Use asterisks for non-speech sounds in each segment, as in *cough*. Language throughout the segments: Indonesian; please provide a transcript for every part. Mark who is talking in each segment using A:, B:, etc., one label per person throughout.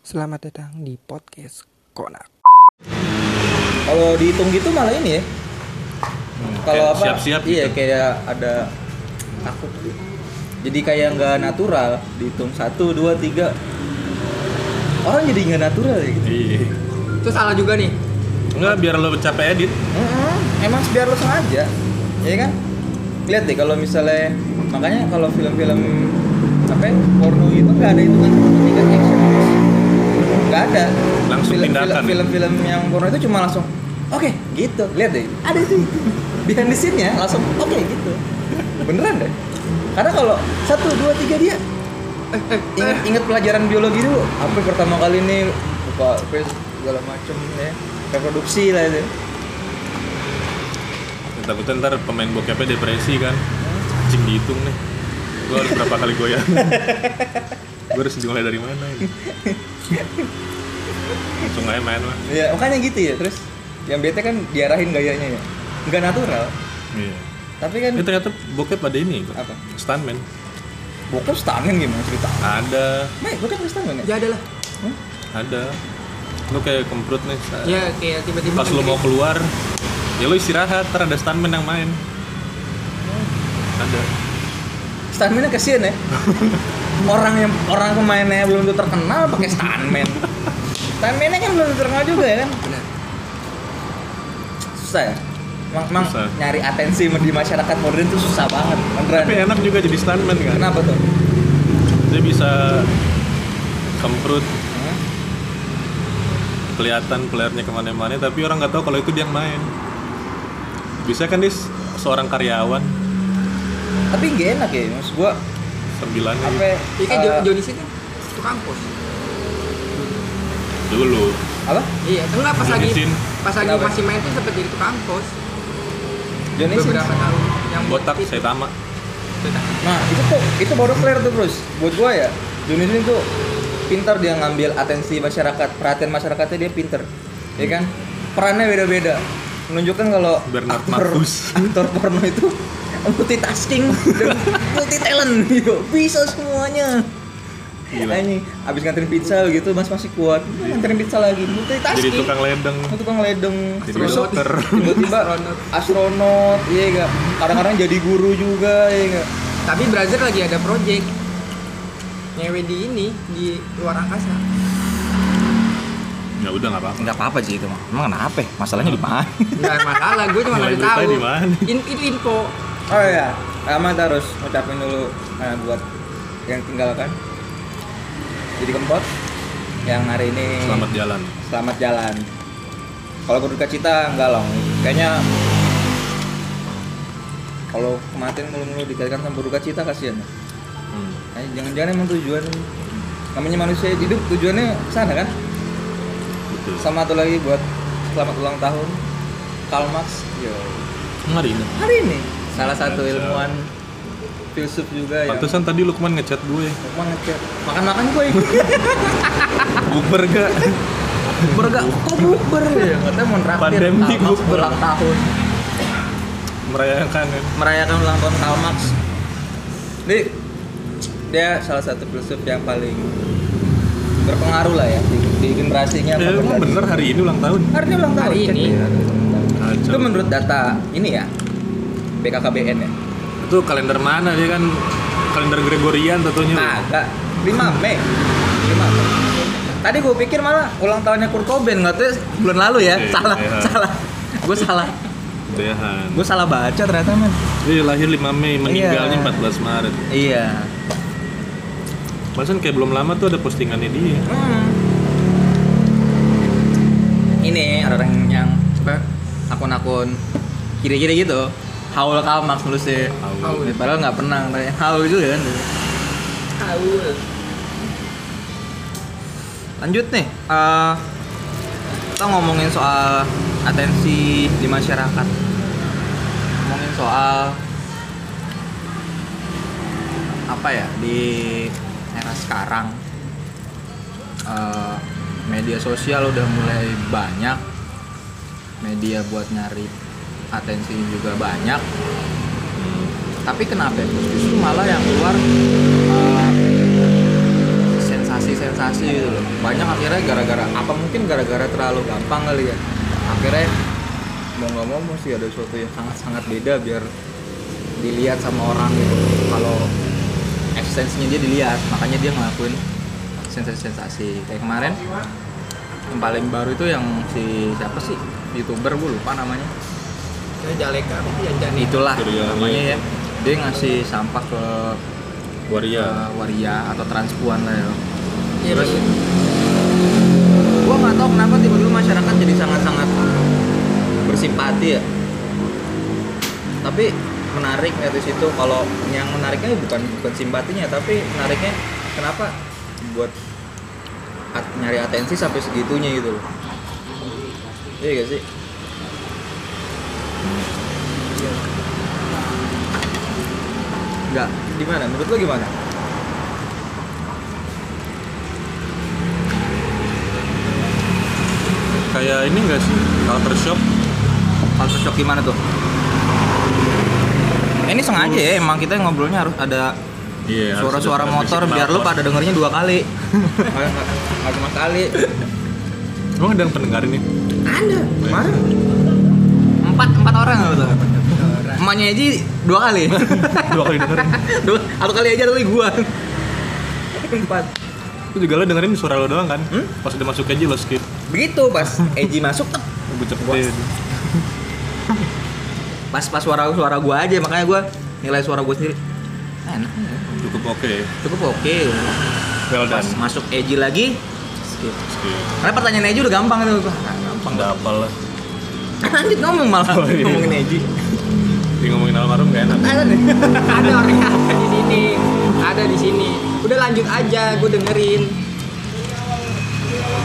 A: Selamat datang di podcast Konak.
B: Kalau dihitung gitu malah ini ya. Kalau
C: Hmm, kayak
B: apa?
C: siap-siap gitu.
B: iya kayak ada takut gitu. Jadi kayak nggak natural dihitung satu dua tiga orang jadi nggak natural ya gitu.
C: Iya.
A: Itu salah juga nih.
C: Enggak biar lo capek edit.
B: Mm-mm, emang biar lo sengaja, ya kan? Lihat deh kalau misalnya makanya kalau film-film apa ya, porno itu nggak ada hitungan tiga action nggak ada
C: Langsung
B: Film-
C: tindakan ya?
B: film, film-film yang porno itu cuma langsung oke gitu lihat deh ada itu itu behind the scene nya langsung oke gitu beneran deh karena kalau satu dua tiga dia "Eh,
C: Eh.
B: inget inget pelajaran biologi dulu apa pertama kali ini buka apa segala macem ya reproduksi lah itu
C: Takutnya ntar pemain bokepnya depresi kan. Cing dihitung nih. Gue harus berapa kali *laughs* goyang. gue harus dimulai dari mana ini. Langsung aja main lah.
B: Iya, makanya gitu ya. Terus yang bete kan diarahin gayanya ya. Nggak natural.
C: Iya.
B: Tapi kan
C: Ini ternyata bokep ada ini kok.
B: Apa?
C: Stuntman.
B: bokep stunning gimana cerita?
C: Ada,
B: Mei, bokep harus stunning ya?
A: Ya adalah.
C: ada. Lo kayak kemprut nih. Sa-
B: Iya,
A: Ya kayak tiba-tiba
C: Pas lo mau keluar, ya lo istirahat. Ntar ada stuntman yang main.
B: Oh.
C: Ada.
B: Stuntman-nya kesian
A: *laughs*
B: ya. orang yang orang pemainnya belum tuh terkenal pakai stuntman. Stuntman-nya kan belum terkenal juga ya kan?
A: Benar.
B: Susah ya. Emang, emang
C: Susah.
B: nyari atensi di masyarakat modern tuh susah banget. Beneran.
C: Tapi enak juga jadi stuntman kan.
B: Kenapa tuh?
C: dia bisa kemprut
B: Hmm?
C: kelihatan playernya kemana-mana tapi orang nggak tahu kalau itu dia yang main bisa kan dia s- seorang karyawan
B: Tapi nggak enak ya, maksud gua
C: sembilan
B: apa?
A: Iya kan
C: Ah.
B: eh,
A: Joni sini itu kampus.
C: dulu
B: eh, apa?
A: Iya, enggak pas
C: Johnny
A: lagi
C: Sin.
A: pas lagi
B: Kenapa?
A: masih main tuh sempat jadi tukang kampus
B: Johnny Sins.
A: beberapa tahun yang
C: botak
A: itu-
C: saya tamak
A: botak.
B: Nah itu tuh itu baru clear tuh terus buat gua ya Johnny Slim tuh pintar dia ngambil atensi masyarakat perhatian masyarakatnya dia pintar ya
C: Hmm.
B: kan perannya beda-beda menunjukkan kalau
C: Bernard
B: aktor,
C: Marcus.
B: *laughs* aktor porno itu multitasking
C: *laughs*
B: dan multi talent gitu bisa semuanya
C: Gila. Iya.
B: ini abis nganterin pizza gitu mas masih kuat nganterin pizza lagi multitasking
C: jadi tukang ledeng
B: Oh, tukang ledeng
C: Jadi
B: Besok
A: *laughs*
C: dokter.
B: tiba-tiba
A: Astronot.
B: astronot iya enggak kadang-kadang jadi guru juga iya enggak
A: Tapi Brazzer lagi ada project nyewe di ini di luar angkasa.
C: ya udah nggak apa-apa
B: Enggak apa-apa sih itu mah. Emang kenapa? ya? Masalahnya di mana?
A: Enggak masalah, gue cuma
C: Mulai
A: ngasih
C: berita
A: tahu.
C: di mana?
A: In- itu info.
B: *laughs* oh iya. Amat harus ngucapin dulu eh, buat yang tinggalkan. Jadi kempot yang hari ini
C: selamat jalan
B: selamat jalan. Kalau berduka cita enggak long. Kayaknya kalau kematian mulu-mulu dikaitkan sama berduka cita kasihan.
C: Hmm.
B: Nah, jangan-jangan emang tujuan namanya manusia hidup tujuannya ke sana kan?
C: betul
B: Sama satu lagi buat selamat ulang tahun Karl Marx. Yo.
C: nggak ingat
B: hari ini salah satu
C: Kacau.
B: ilmuwan filsuf juga yang
C: pantesan tadi Lukman ngechat gue
B: Lukman ngechat makan-makan gue ikut
C: bukber *laughs* gak
B: bukber gak? kok
C: *laughs*
B: bukber ya? katanya mau nraktir
C: Pandemi
B: Karl Marx
C: bukber.
B: ulang tahun
C: merayakan kan
B: merayakan ulang tahun Karl Marx jadi dia salah satu filsuf yang paling berpengaruh lah ya di, di generasinya
C: ya,
B: apa
C: emang
B: berarti.
C: bener hari ini ulang tahun
B: hari ini ulang tahun
A: Hari
B: cek
A: ini.
B: deh, hari ini ulang tahun.
C: Kacau.
B: itu menurut data ini ya BKKBN ya
C: itu kalender mana dia kan kalender Gregorian tentunya
B: Agak 5 Ah, Mei. 5 Mei. Tadi gue pikir malah ulang tahunnya Kurt Cobain nggak tahu ya, bulan lalu ya.
C: Iya,
B: salah,
C: iya.
B: salah. Gue salah.
C: Dehan
B: Gue salah baca ternyata men.
C: Dia lahir 5 Mei, meninggalnya
B: Iya.
C: 14 Maret.
B: Iya.
C: Masan kayak belum lama tuh ada postingannya dia.
B: Hmm. Ini orang yang apa akun-akun kiri-kiri gitu. Haul Kalmax nulisnya.
C: Haul.
B: Ya, Padahal nggak pernah. katanya. Haul juga kan.
A: Tahu.
B: lanjut nih eh, kita ngomongin soal atensi di masyarakat ngomongin soal apa ya di era sekarang eh, media sosial udah mulai banyak media buat nyari atensi juga banyak tapi kenapa ya? justru malah yang keluar eh, sensasi sensasi-sensasi gitu loh banyak akhirnya gara-gara apa mungkin gara-gara terlalu gampang kali ya akhirnya mau nggak mau mesti ada sesuatu yang sangat-sangat beda biar dilihat sama orang gitu kalau esensinya dia dilihat makanya dia ngelakuin sensasi-sensasi kayak kemarin yang paling baru itu yang si siapa sih youtuber gue lupa namanya
A: Ya Jaleka apa sih ya Jani?
B: itulah
C: Surya,
B: namanya ya dia ngasih sampah ke
C: waria
B: ke waria atau transpuan lah ya
A: Iya,
B: Terus?
A: betul.
B: gua nggak tahu kenapa tiba-tiba masyarakat jadi sangat-sangat bersimpati ya tapi menarik ya di situ kalau yang menariknya bukan bukan simpatinya tapi menariknya kenapa buat at- nyari atensi sampai segitunya gitu loh iya gak sih nggak gimana menurut lo gimana
C: kayak ini enggak sih culture shock
B: culture shock gimana tuh? Eh, ini sengaja ya, emang kita ngobrolnya harus ada
C: Iya, harus
B: suara-suara
C: ada
B: motor
C: bisik
B: biar lu
C: motor.
B: pada dengernya dua kali. Nggak- nggak- nggak cuma sekali.
C: emang ada yang pendengar ini
B: Ada.
C: *laughs* kemarin.
B: Empat empat orang nggak betul.
A: Orang.
B: Emaknya aja dua kali.
C: dua kali dengerin
B: dua, satu kali aja dari gua. Empat.
C: itu juga lo dengerin suara lo doang kan
B: Hmm?
C: pas udah masuk aja lo skip
B: Begitu pas Eji masuk tep,
C: gue cepetin
B: pas pas suara suara gua aja makanya gua nilai suara gua sendiri enak ya,
C: cukup oke
B: cukup oke
C: well
B: pas
C: done
B: masuk Eji lagi skip
C: skip
B: karena pertanyaan Eji udah gampang tuh Wah, gampang *laughs*
C: nggak apel lah
B: Kan lanjut ngomong malah
C: Oh, iya.
B: ngomongin Eji.
C: Dia ngomongin almarhum gak enak
B: Ada nih.
A: ada orang yang ada di sini ada di sini udah lanjut aja gue dengerin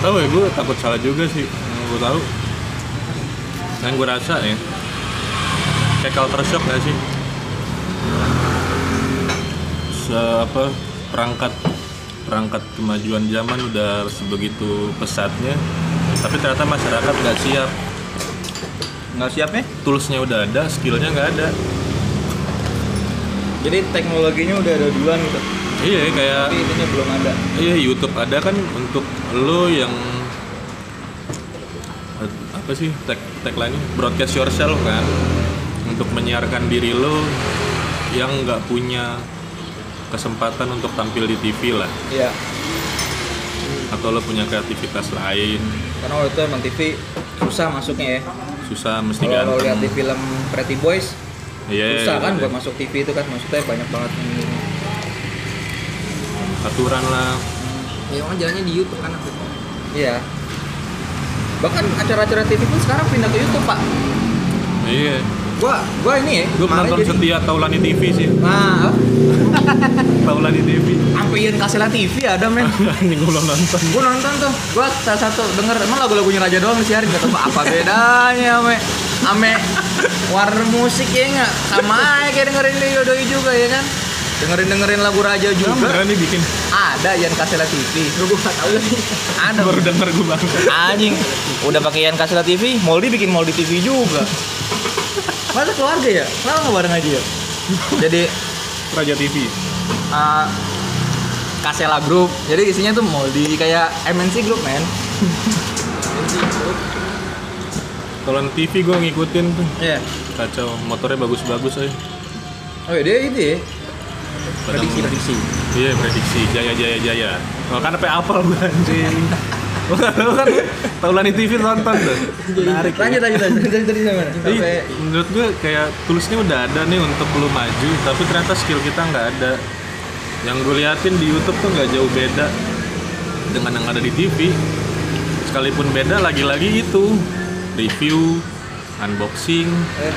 C: tahu ya gue takut salah juga sih gue tahu yang gue rasa ya kayak culture shock gak sih Se apa perangkat perangkat kemajuan zaman udah sebegitu pesatnya tapi ternyata masyarakat nggak siap
B: Nggak siap ya?
C: toolsnya udah ada skillnya nggak ada
B: Jadi teknologinya udah ada duluan gitu.
C: iya kayak
B: Tapi itunya belum ada.
C: Iya YouTube ada kan untuk lo yang apa sih tag tagline broadcast yourself kan untuk menyiarkan diri lo yang nggak punya kesempatan untuk tampil di TV lah
B: Iya.
C: atau lo punya kreativitas lain
B: Karena waktu itu emang TV susah masuknya ya.
C: susah mesti
B: Kalau lo lihat di
C: ganteng
B: film Pretty Boys,
C: Iya,
B: susah
C: iya,
B: kan
C: iya.
B: buat masuk TV itu kan maksudnya banyak banget yang
C: aturan lah
A: ya orang jalannya di YouTube kan aku
B: Iya. Bahkan acara-acara TV pun sekarang pindah ke YouTube, Pak.
C: iya
B: Gua gua ini ya,
C: gue
B: kemarin
C: menonton
B: jadi-
C: setia Taulani TV sih
B: Nah,
C: Taulani *laughs* TV
B: ampian kasela TV ada men.
C: anjing gue belum nonton
B: gue nonton tuh gue salah satu denger emang lagu-lagunya Raja doang disiarin kata "Pak, apa bedanya ame ame warna musik ya nggak sama aja kayak dengerin Leo Doi juga ya kan dengerin dengerin lagu Raja juga
C: beneran nih bikin
B: ada Ian Kasela TV
A: gue gak tau lagi
B: ada
C: baru denger gue banget
B: anjing udah pakai Ian Kasela TV Moldi bikin Moldi TV juga masa keluarga ya kenapa nggak bareng aja ya jadi
C: Raja TV
B: eh, Kasela Group jadi isinya tuh Moldi kayak MNC Group men
C: Taulani TV gue ngikutin tuh
B: Iya.
C: kacau motornya bagus-bagus eh. aja
B: Oh ya dia itu ya. Prediksi
C: Kadang-
B: prediksi.
C: iya prediksi jaya jaya jaya oh, kan apa apel gue anjing *laughs* Lu kan lu kan taulani TV nonton tuh menarik
B: Lanjut lanjut ya. lanjut dari dari mana?
C: Jadi, Iya, menurut gue kayak tulisnya udah ada nih untuk lu maju tapi ternyata skill kita nggak ada yang gue liatin di YouTube tuh nggak jauh beda dengan yang ada di TV sekalipun beda lagi-lagi itu review unboxing
B: Eh.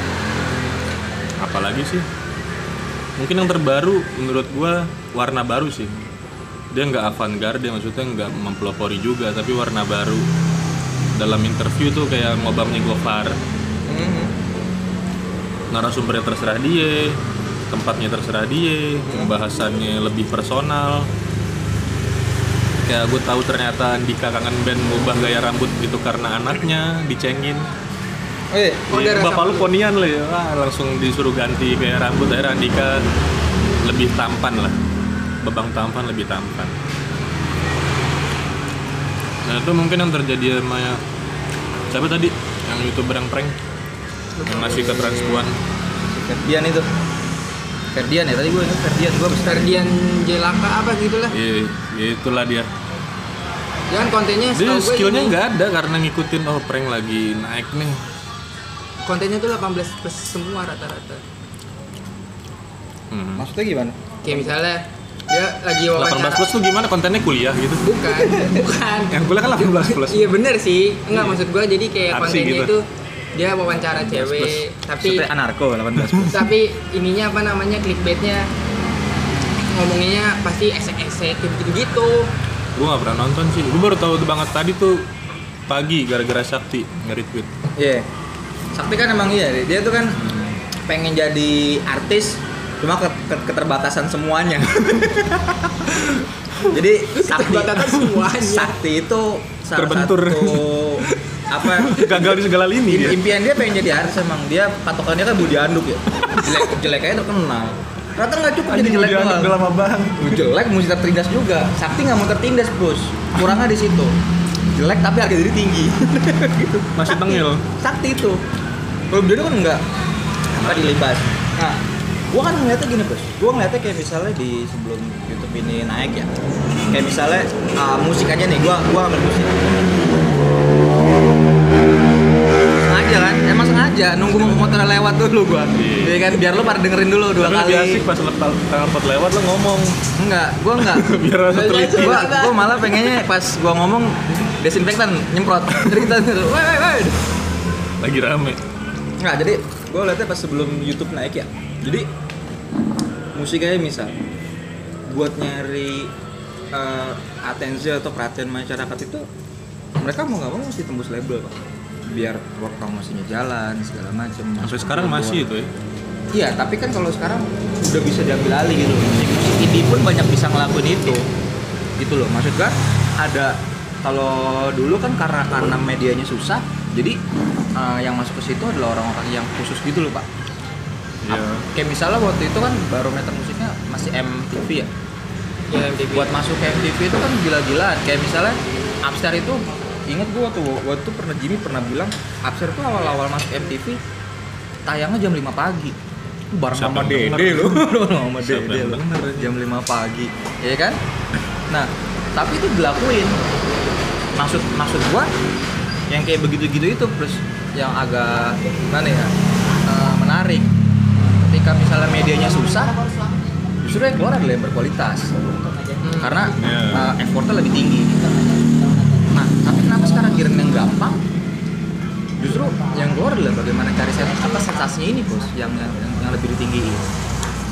C: apalagi sih mungkin yang terbaru menurut gua warna baru sih dia nggak avant-garde maksudnya nggak mempelopori juga tapi warna baru dalam interview tuh kayak ngobamnya Gofar narasumbernya terserah dia tempatnya terserah dia pembahasannya lebih personal kayak gue tahu ternyata Andika kangen band ngubah gaya rambut gitu karena anaknya dicengin
B: Oh iya.
A: Oh,
C: Iya,
A: ada
C: bapak
A: rasa
C: lu ponian lah ya Wah, langsung disuruh ganti gaya rambut akhirnya Andika lebih tampan lah bebang tampan lebih tampan Nah itu mungkin yang terjadi sama ya- siapa tadi yang youtuber yang prank yang ngasih ke transpuan
B: Si Ferdian itu Ferdian ya tadi gue ingat Ferdian gue mesti
A: Ferdian Jelaka apa gitu lah
C: ya, ya itulah dia
A: jangan Ya kan kontennya
C: dia
A: setahu gue
C: skillnya
A: ini,
C: nggak ada karena ngikutin oh prank lagi naik nih
A: kontennya tuh 18 plus semua rata-rata
C: hmm.
B: maksudnya gimana
A: kayak misalnya dia lagi wawancara
C: 18 plus tuh gimana kontennya kuliah gitu
A: bukan *laughs* bukan
C: yang kuliah kan 18 plus
A: iya bener sih enggak maksud gue jadi kayak
C: Arsi
A: kontennya
C: gitu.
A: itu dia wawancara cewek tapi
B: Maksudnya anarko 18 plus
A: tapi ininya apa namanya clickbaitnya ngomonginnya pasti esek-esek gitu gitu
C: gue nggak pernah nonton sih gue baru tahu banget tadi tuh pagi gara-gara Sakti nge-retweet
B: Iya. Sakti kan emang iya, dia tuh kan pengen jadi artis, cuma ke- ke- keterbatasan *laughs* semuanya. jadi Sakti,
A: Keterbatasan semuanya.
B: Sakti itu salah
C: Terbentur.
B: *laughs* satu apa?
C: *laughs* gagal di segala lini dia
B: Impian dia pengen jadi artis emang dia patokannya kan Budi Anduk ya. Jelek jelek aja terkenal. Ternyata nggak cukup jadi
C: Anjing
B: jelek
C: udah
B: doang.
C: udah lama banget
B: Jelek mesti tertindas juga. Sakti nggak mau tertindas bos. Kurangnya di situ. Jelek tapi harga diri tinggi. *laughs*
C: masih tengil
B: sakti itu kalau beliau kan enggak apa dilibas nah gua kan ngeliatnya gini bos gua ngeliatnya kayak misalnya di sebelum YouTube ini naik ya kayak misalnya ah, musik aja nih gua gua ambil musik sengaja kan emang sengaja nunggu motor lewat dulu gua
C: Iya.
B: Iya kan biar lu pada dengerin dulu dua
C: tapi
B: kali
C: lebih asik pas lepas telepon lewat lo ngomong
B: enggak gua *laughs* enggak
C: biar rasa teliti
B: gua, gua malah pengennya pas gua ngomong desinfektan nyemprot cerita dulu woi woi woi
C: lagi rame
B: Nggak, Nah, jadi gue liatnya pas sebelum YouTube naik ya. Jadi musik aja misal buat nyari eh, atensi atau perhatian masyarakat itu mereka mau nggak mau mesti tembus label pak biar work promosinya jalan segala macam
C: sampai sekarang masih itu ya
B: iya tapi kan kalau sekarang udah bisa diambil alih gitu musik musik indie pun banyak bisa ngelakuin itu gitu loh maksud gua ada kalau dulu kan karena karena medianya susah jadi eh, yang masuk ke situ adalah orang-orang yang khusus gitu loh pak
C: Iya.
B: kayak misalnya waktu itu kan barometer musiknya masih MTV ya
C: Iya,
A: ya MTV
B: buat masuk ke MTV itu kan gila-gilaan kayak misalnya Upstar itu inget gua tuh waktu itu pernah Jimmy pernah bilang Upstar tuh awal-awal masuk MTV tayangnya jam 5 pagi Itu bareng
C: Siapa
B: sama
C: yang
B: Dede *laughs*
C: denger?
B: lu sama
C: Siapa
B: Dede
C: yang
B: lu
C: denger?
B: jam 5 pagi ya kan nah tapi itu dilakuin maksud maksud gua yang kayak begitu-gitu itu plus yang agak gimana ya eh, menarik ketika misalnya medianya susah justru yang keluar adalah yang berkualitas
A: Hmm.
B: karena
C: Iya.
B: uh, effortnya lebih tinggi. Nah, tapi kenapa sekarang giring yang gampang? Justru yang keluar adalah bagaimana cari sen- apa sensasinya ini bos, yang yang, yang lebih ditinggiin,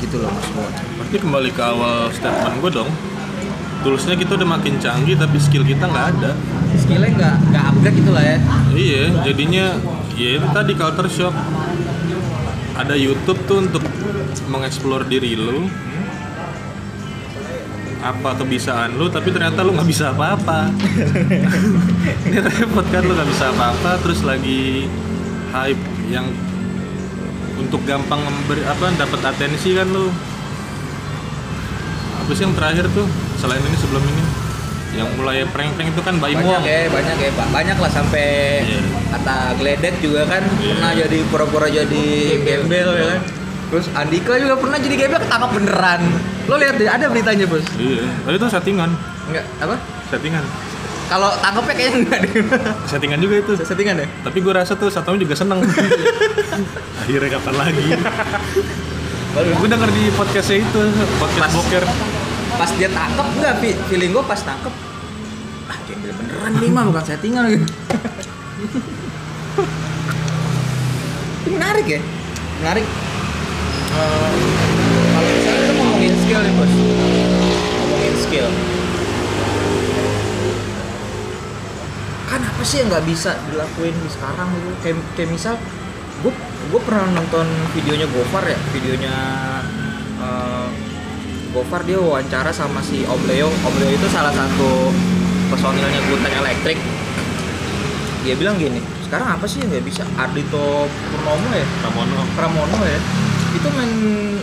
B: gitu loh mas Bon.
C: berarti kembali ke awal statement gue dong tulusnya kita udah makin canggih tapi skill kita nggak ada
B: Skillnya nggak nggak upgrade gitu lah ya.
C: iya jadinya ya itu tadi culture shock ada YouTube tuh untuk mengeksplor diri lu apa kebisaan lu tapi ternyata lu nggak bisa apa-apa *laughs* ini repot kan lu nggak bisa apa-apa terus lagi hype yang untuk gampang memberi apa dapat atensi kan lu apa sih yang terakhir tuh selain ini sebelum ini yang mulai prank-prank itu kan Baim
B: Banyak
C: Wong.
B: ya, banyak ya, Pak. Banyak lah sampai
C: Iya.
B: kata Gledek juga kan
C: Iya.
B: pernah jadi pura-pura jadi gembel ya kan. Terus Andika juga pernah jadi gembel ketangkap beneran. Lo lihat deh, ada beritanya bos.
C: Iya, tapi itu settingan,
B: Enggak apa?
C: settingan,
B: Kalau tangkapnya kayaknya enggak deh.
C: settingan juga itu.
B: *laughs* settingan ya?
C: Tapi gue rasa tuh Satomi juga *laughs* seneng. Akhirnya kapan lagi? gue denger di podcastnya itu,
B: Pas.
C: podcast boker.
B: Pas dia tangkep enggak, Pi? Feeling gue pas tangkep. Ah, gembel beneran nih mah bukan settingan gitu. Ini menarik ya? Menarik. Eh, kalau misalnya kita ngomongin skill nih, Bos. Ngomongin skill. Kan apa sih yang nggak bisa dilakuin di sekarang gitu? Kayak, kayak misal gue gue pernah nonton videonya Gofar ya, videonya eh, Gofar dia wawancara sama si Om Leo. Om Leo itu salah satu personilnya Guteng Elektrik. Dia bilang gini, sekarang apa sih yang nggak bisa? Ardito Purnomo ya,
C: Ramono.
B: Pramono ya. Itu main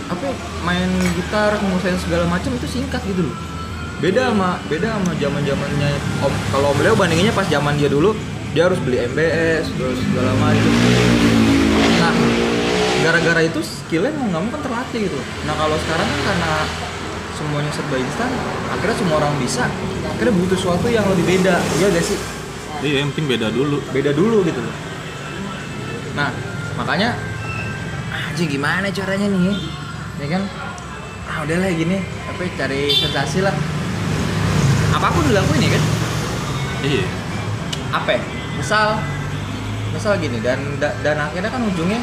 B: apa? ya, Main gitar, ngusain segala macam itu singkat gitu loh. beda sama beda sama zaman zamannya om kalau om Leo bandinginnya pas zaman dia dulu dia harus beli MBS terus segala macam nah gara-gara itu skillnya mau nggak mau kan terlatih gitu nah kalau sekarang kan karena semuanya serba instan akhirnya semua orang bisa akhirnya butuh sesuatu yang lebih beda ya gak sih
C: Iya, yang penting beda dulu.
B: beda dulu gitu loh. Nah, makanya anjing gimana caranya nih? ya? Ya kan? Ah, udahlah gini, apa ya, cari sensasi lah. Apapun dilakuin ya kan?
C: Iya.
B: Apa? ya? Misal misal gini dan da- dan akhirnya kan ujungnya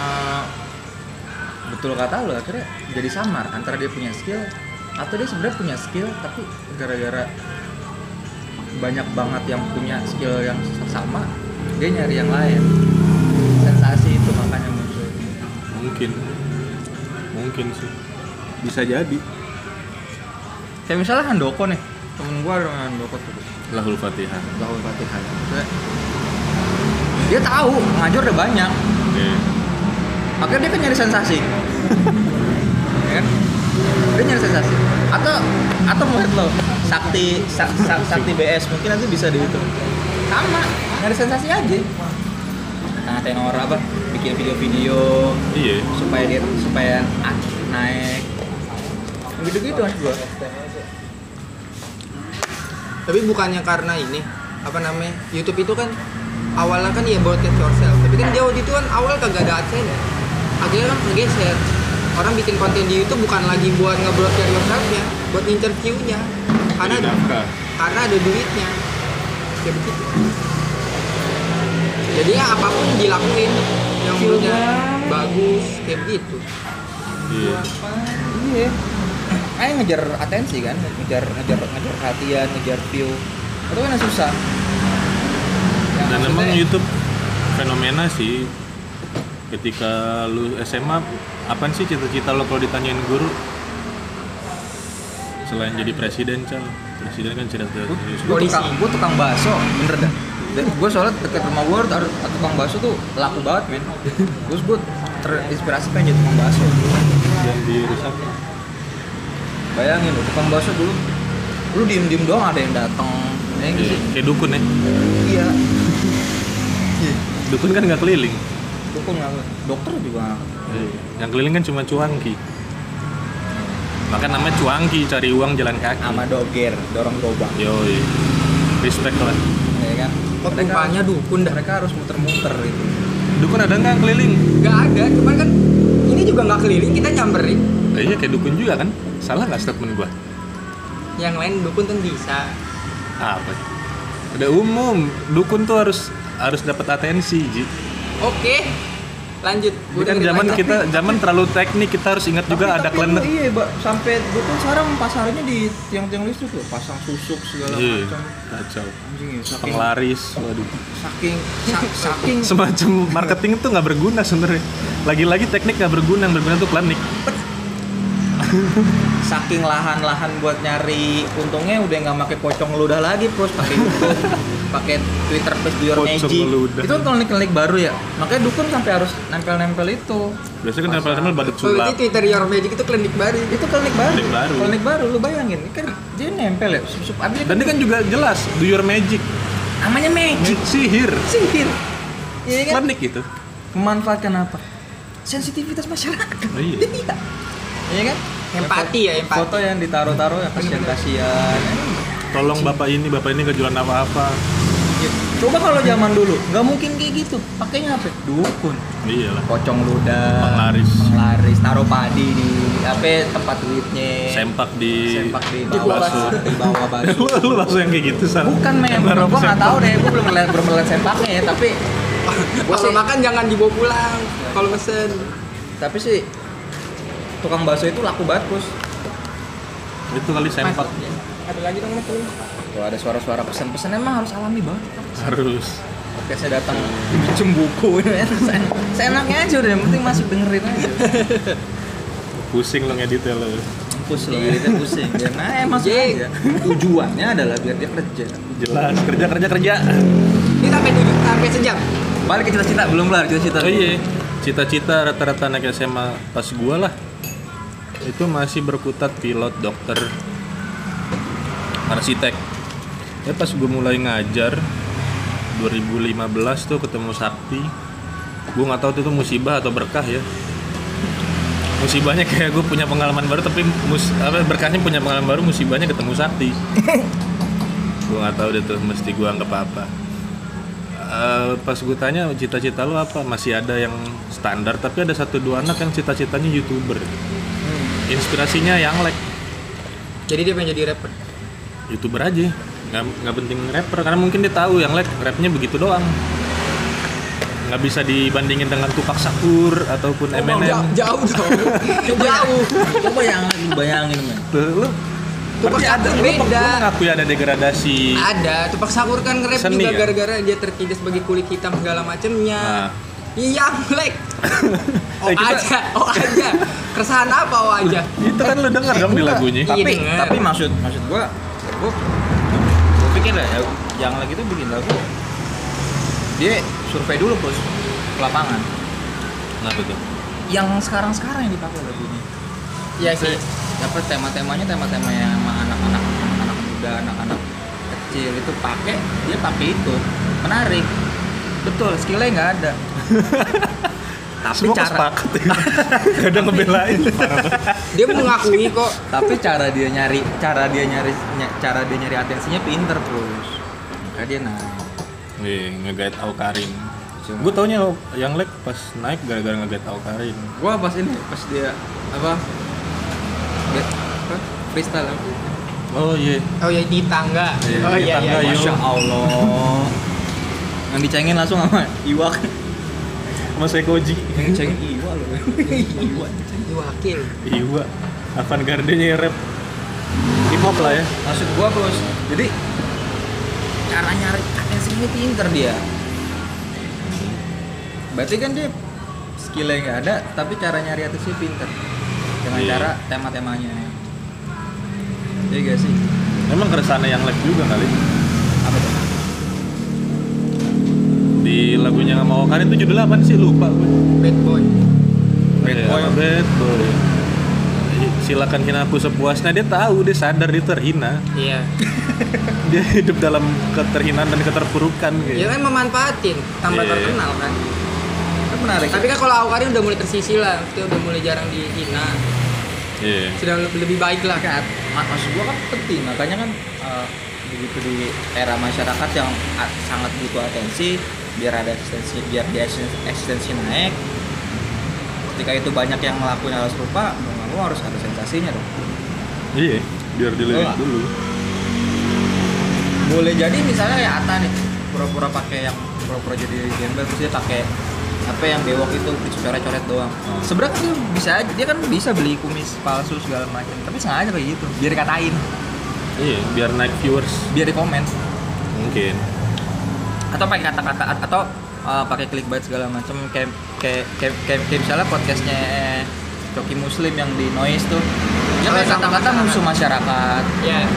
B: eh, betul kata lo akhirnya jadi samar antara dia punya skill atau dia sebenarnya punya skill tapi gara-gara banyak banget yang punya skill yang sama dia nyari yang lain sensasi itu makanya muncul
C: Mungkin. Mungkin sih. Bisa jadi.
B: kayak misalnya handoko nih temen gua ada orang handoko terus
C: Lahul Fatihah.
B: tahun latihan dia tahu ngajur udah banyak
C: Oke.
B: akhirnya dia kan nyari *laughs* sensasi Ya kan dia nyari sensasi atau atau menurut lo sakti Sak- Sak- sakti BS mungkin nanti bisa dihitung sama nyari sensasi aja nah tenor apa bikin video-video
C: Iya.
B: supaya dia supaya ah, naik gitu-gitu kan gua
A: tapi bukannya karena ini apa namanya YouTube itu kan awalnya kan ya broadcast yourself tapi kan dia waktu itu kan awal kagak ada adsense ya. akhirnya kan bergeser orang bikin konten di YouTube bukan lagi buat nge-broadcast yourself-nya buat ngincer view-nya karena ada
C: Nafkah.
A: karena ada duitnya ya begitu jadi ya apapun dilakuin yang menurutnya bagus kayak gitu
C: Iya.
B: iya Ayo ngejar atensi kan ngejar ngejar ngejar perhatian ngejar view itu kan yang susah Ya,
C: Dan emang
B: maksudnya-
C: YouTube fenomena sih. Ketika lu SMA, apa sih cita-cita lo kalau ditanyain guru? Selain jadi presiden, Cal. Presiden
B: Oh,
C: kan cita-cita.
B: gue tukang gue tukang bakso bener dah gue soalnya deket rumah gue ada tukang bakso tuh laku banget men terus gue terinspirasi pengen jadi tukang bakso
C: Yang dirusak.
B: bayangin lu tukang bakso dulu lu diem diem doang ada yang datang ya gitu
C: Iya.
B: sih
C: Kayak dukun ya.
B: iya
C: Dukun kan nggak keliling.
B: dukung nggak lu? dokter juga nggak.
C: Yang keliling kan cuma cuangki. Maka namanya cuangki, cari uang jalan kaki.
B: sama doger dorong gobang
C: Yoi. Respect lah.
B: ya kan
A: kok rupanya dukun dah
B: mereka harus muter-muter gitu
C: Dukun ada nggak yang keliling?
A: nggak ada cuman kan ini juga nggak keliling kita nyamperin
C: Eh, iya kayak dukun juga kan? Salah nggak statement gua?
A: yang lain dukun tuh bisa
C: Apa? Udah umum, dukun tuh harus harus dapat atensi, Ji.
A: Oke, lanjut.
C: Ini kan zaman kita zaman terlalu teknik, kita harus ingat juga
B: Tapi-
C: ada
B: tapi
C: klenet.
B: lu Iya, Mbak. sampai gue tuh sekarang pasarnya di tiang-tiang listrik loh, pasang susuk segala
C: Iya,
B: macam.
C: kacau.
B: Anjing ya, saking
C: Penglaris, waduh.
B: saking
C: *laughs*
B: sa- saking
C: Semacam marketing tuh nggak berguna sebenarnya. Lagi-lagi teknik nggak berguna, yang berguna tuh klinik.
B: saking lahan-lahan buat nyari untungnya udah nggak pakai pocong ludah lagi terus pakai
C: *laughs*
B: YouTube, pakai Twitter Face do your
C: Pocong
B: magic.
C: ludah.
B: Itu kan klinik-klinik baru ya. Makanya dukun sampai harus nempel-nempel itu.
C: Biasanya kan tempel-tempel
B: Oh,
C: badut
A: Jadi
C: sulap.
A: gitu Twitter Your Magic itu klinik baru.
B: Itu klinik baru.
C: Klinik baru.
B: Klinik baru, lu bayangin. Ini kan dia nempel ya, sup-sup abis
C: Dan dia kan juga jelas, do your magic,
B: namanya magic.
C: sihir,
B: Sihir. Iya kan?
C: klinik gitu.
B: memanfaatkan apa? Sensitivitas masyarakat.
C: Oh, iya.
B: Iya kan?
A: Empati ya, empati.
B: Foto yang ditaruh-taruh ya, yang kasihan-kasihan.
C: Tolong bapak ini, bapak ini nggak jualan apa-apa.
B: Iya. Coba kalau zaman dulu, nggak mungkin kayak gitu. Pakainya apa? Dukun.
C: Iya lah.
B: Pocong ludah.
C: Penglaris.
B: Penglaris. Taruh padi di apa? Tempat duitnya.
C: Sempak di
B: Eh. Sempak di
A: di
B: bawah.
C: bakso.
B: Di bawah bakso.
C: *laughs* lu, lu langsung yang kayak gitu san.
B: Bukan men,
C: Yang
B: gua
C: naruh
B: nggak
C: sempak.
B: tahu deh, gua belum melihat belum melihat sempaknya ya, tapi
C: *laughs*
B: Gua
A: Kalau
B: sih-
A: makan jangan dibawa pulang. Kalau pesen
B: tapi sih tukang bakso itu laku banget, Bos.
C: Itu kali sempak
A: ada lagi dong mas.
B: Kalau ada suara-suara pesan-pesan emang harus alami banget.
C: harus.
B: Kayak saya datang pinjem buku ya. *laughs* Saya- Seenaknya aja udah yang penting masuk dengerin aja.
C: Pusing lo ngedit ya lo.
B: Pusing loh, editnya *laughs* pusing. Ya, nah, eh, masuk
A: Jeng.
B: aja. Tujuannya adalah biar dia kerja.
C: Jelas kerja kerja kerja.
A: Ini sampai tujuh, sampai sejam.
B: Balik ke cita-cita, belum kelar cita-cita.
C: Oh iya. Cita-cita rata-rata anak SMA pas gua lah itu masih berkutat pilot dokter arsitek ya pas gue mulai ngajar 2015 tuh ketemu Sakti gue nggak tahu itu tuh musibah atau berkah ya musibahnya kayak gue punya pengalaman baru tapi mus apa berkahnya punya pengalaman baru musibahnya ketemu Sakti gue nggak tahu deh tuh mesti gue anggap apa Eh, pas gue tanya cita-cita lu apa masih ada yang standar tapi ada satu dua anak yang cita-citanya youtuber
A: Hmm.
C: inspirasinya yang like
A: Jadi dia pengen jadi rapper.
C: youtuber aja nggak nggak penting rapper karena mungkin dia tahu yang like rapnya begitu doang nggak bisa dibandingin dengan Tupac Shakur ataupun
A: Oh, Jauh,
C: Eminem
A: jauh
C: *laughs*
A: dong. jauh.
B: Coba yang lu bayangin men.
C: Tuh, lu
A: Tupac
C: berarti ada
A: Shakur
C: lu
A: beda.
C: mengakui ada degradasi
A: Ada, Tupac Shakur kan nge-rap
C: Seni,
A: juga
C: kan?
A: gara-gara dia terkidas sebagai kulit hitam segala macemnya.
C: Nah.
A: Iya, Black. Oh
C: Eh, kita-
A: aja, oh aja. Keresahan apa oh aja?
C: itu kan lu denger dong di lagunya
A: Iya,
B: Tapi
A: denger.
B: tapi maksud maksud gua gua, gua pikir lah ya, yang lagi tuh bikin lagu dia survei dulu bos ke lapangan.
C: kenapa tuh
B: Yang sekarang-sekarang yang dipakai lagunya.
A: Iya sih.
B: Dapat tema-temanya tema-tema yang emang anak-anak anak muda, anak-anak kecil itu pakai, dia pakai itu. Menarik. Betul, skillnya nggak ada. tapi
C: semua
B: cara
C: sepakat *laughs* gak ada ngebelain
A: Dia mengakui kok.
B: *laughs* tapi cara dia nyari cara dia nyari ny- cara dia nyari atensinya pinter terus makanya dia naik
C: Wih, ngegait Al Karim
B: Cuma-
C: gue taunya yang like pas naik gara-gara ngegait Al Karim
B: gua pas ini pas dia apa dia- apa freestyle apa?
C: oh iya
A: Oh ya di tangga.
C: Iya,
A: Oh
C: di
A: iya
C: tangga,
A: iya.
C: yuk.
B: masya Ya allah yang dicengin langsung sama iwak
C: Mas Ekoji
B: yang dicengin iwak *laughs* loh iwak
C: iya.
A: Di wakil.
C: Iwa Avan Gardenya rap hip hop lah ya
B: maksud gua bos jadi cara nyari atensinya pinter dia berarti kan dia skillnya nggak ada tapi cara nyari atensinya pinter dengan
C: Iya.
B: cara tema-temanya iya gak sih
C: Emang keresahannya yang live juga kali
B: apa tuh
C: Di lagunya sama Okarin itu judulnya apa sih? Lupa gue
A: Bad boy.
B: Bad
C: Iya,
B: Boy.
C: apa? Bad Boy Silakan hina aku sepuasnya Dia tahu, dia sadar dia terhina *laughs*
A: Iya.
C: Dia hidup dalam keterhinaan dan keterpurukan gitu
A: Dia kan memanfaatin, tambah
C: Iya.
A: terkenal kan.
B: kan menarik
A: Tapi kan kalau Awkari udah mulai tersisih lah, maksudnya udah mulai jarang dihina.
C: Iya
A: Sudah lebih baik lah.
B: kan mak- maksud gua kan penting makanya kan eh, begitu di era masyarakat yang a- sangat butuh atensi biar ada eksistensi biar dia eksis- eksistensi naik ketika itu banyak yang ngelakuin hal serupa mau nggak mau harus ada sensasinya dong
C: Iya Biar dilihat
B: Betul.
C: dulu
B: boleh jadi misalnya ya Ata nih pura-pura pakai yang pura-pura jadi gembel terus dia pakai apa yang bewok itu dicoret-coret doang sebenarnya kan dia bisa aja dia kan bisa beli kumis palsu segala macam tapi sengaja kayak gitu biar dikatain
C: Iya, biar naik viewers
B: biar di komen
C: Mungkin
B: atau pakai kata-kata atau uh, pakai clickbait segala macam kayak kayak kayak, kayak, kayak misalnya podcastnya eh, Coki Muslim yang di noise tuh dia
A: Oh,
B: pakai
A: sama
B: kata-kata
A: masyarakat.
B: musuh masyarakat
A: Iya.
B: kan.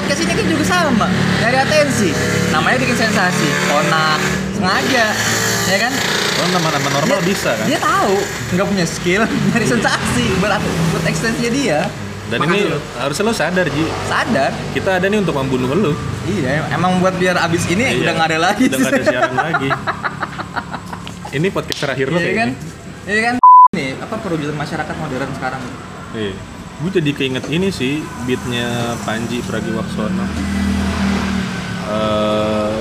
B: podcast ini kan juga sama dari atensi namanya bikin sensasi konak sengaja ya kan
C: Oh nama-nama normal
B: Dia-
C: bisa kan
B: dia tahu nggak punya skill *laughs* nyari sensasi buat buat ekstensinya dia
C: Dan
A: Makasih
C: ini
A: lu.
C: harusnya lo sadar Ji
B: sadar
C: Kita ada nih untuk membunuh lo
B: iya emang buat biar abis ini
C: Iya.
B: Eh, udah nggak ada lagi
C: Udah nggak ada siaran lagi. Ini podcast terakhir lo
B: *laughs* iya
C: kayaknya.
B: kan iya kan nih apa perwujudan masyarakat modern sekarang
C: Iya. Gue jadi keinget ini sih beatnya Panji Pragiwaksono. Eh,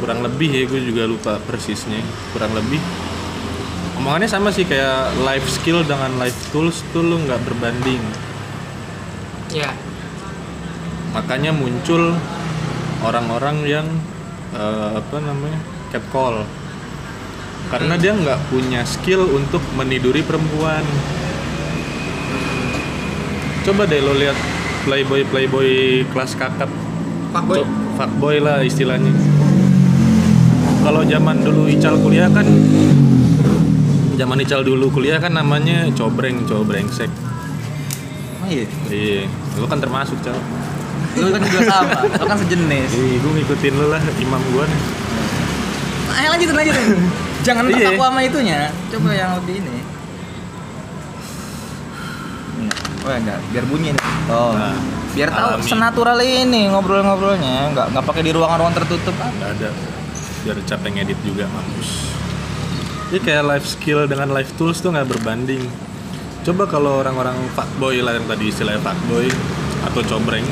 C: kurang lebih ya gue juga lupa persisnya. Kurang lebih. Omongannya sama sih kayak life skill dengan life tools tuh lo nggak berbanding.
A: Iya.
C: Makanya muncul orang-orang yang eh, apa namanya catcall. Karena dia nggak punya skill untuk meniduri perempuan. Coba deh lo lihat playboy playboy kelas kakap,
A: Fuckboy.
C: Co- fuckboy lah istilahnya. Kalau zaman dulu ical kuliah kan, zaman ical dulu kuliah kan namanya cobreng cobrengsek.
B: emang iya
C: Iya, lo kan termasuk cal.
B: lu kan juga sama lu kan sejenis
C: Iya, gue ngikutin lo lah imam gue nih.
B: ayo Eh, lanjutin lanjutin jangan
C: Iya.
B: terpaku sama itunya coba yang lebih ini oh enggak biar bunyi nih oh
C: Nah,
B: biar tahu
C: Alami.
B: senatural ini ngobrol-ngobrolnya nggak nggak pakai di ruangan-ruangan tertutup Ah,
C: nggak ada biar capek ngedit juga mampus jadi kayak life skill dengan life tools tuh nggak berbanding coba kalau orang-orang fuckboy lah yang tadi istilahnya fuckboy atau cobreng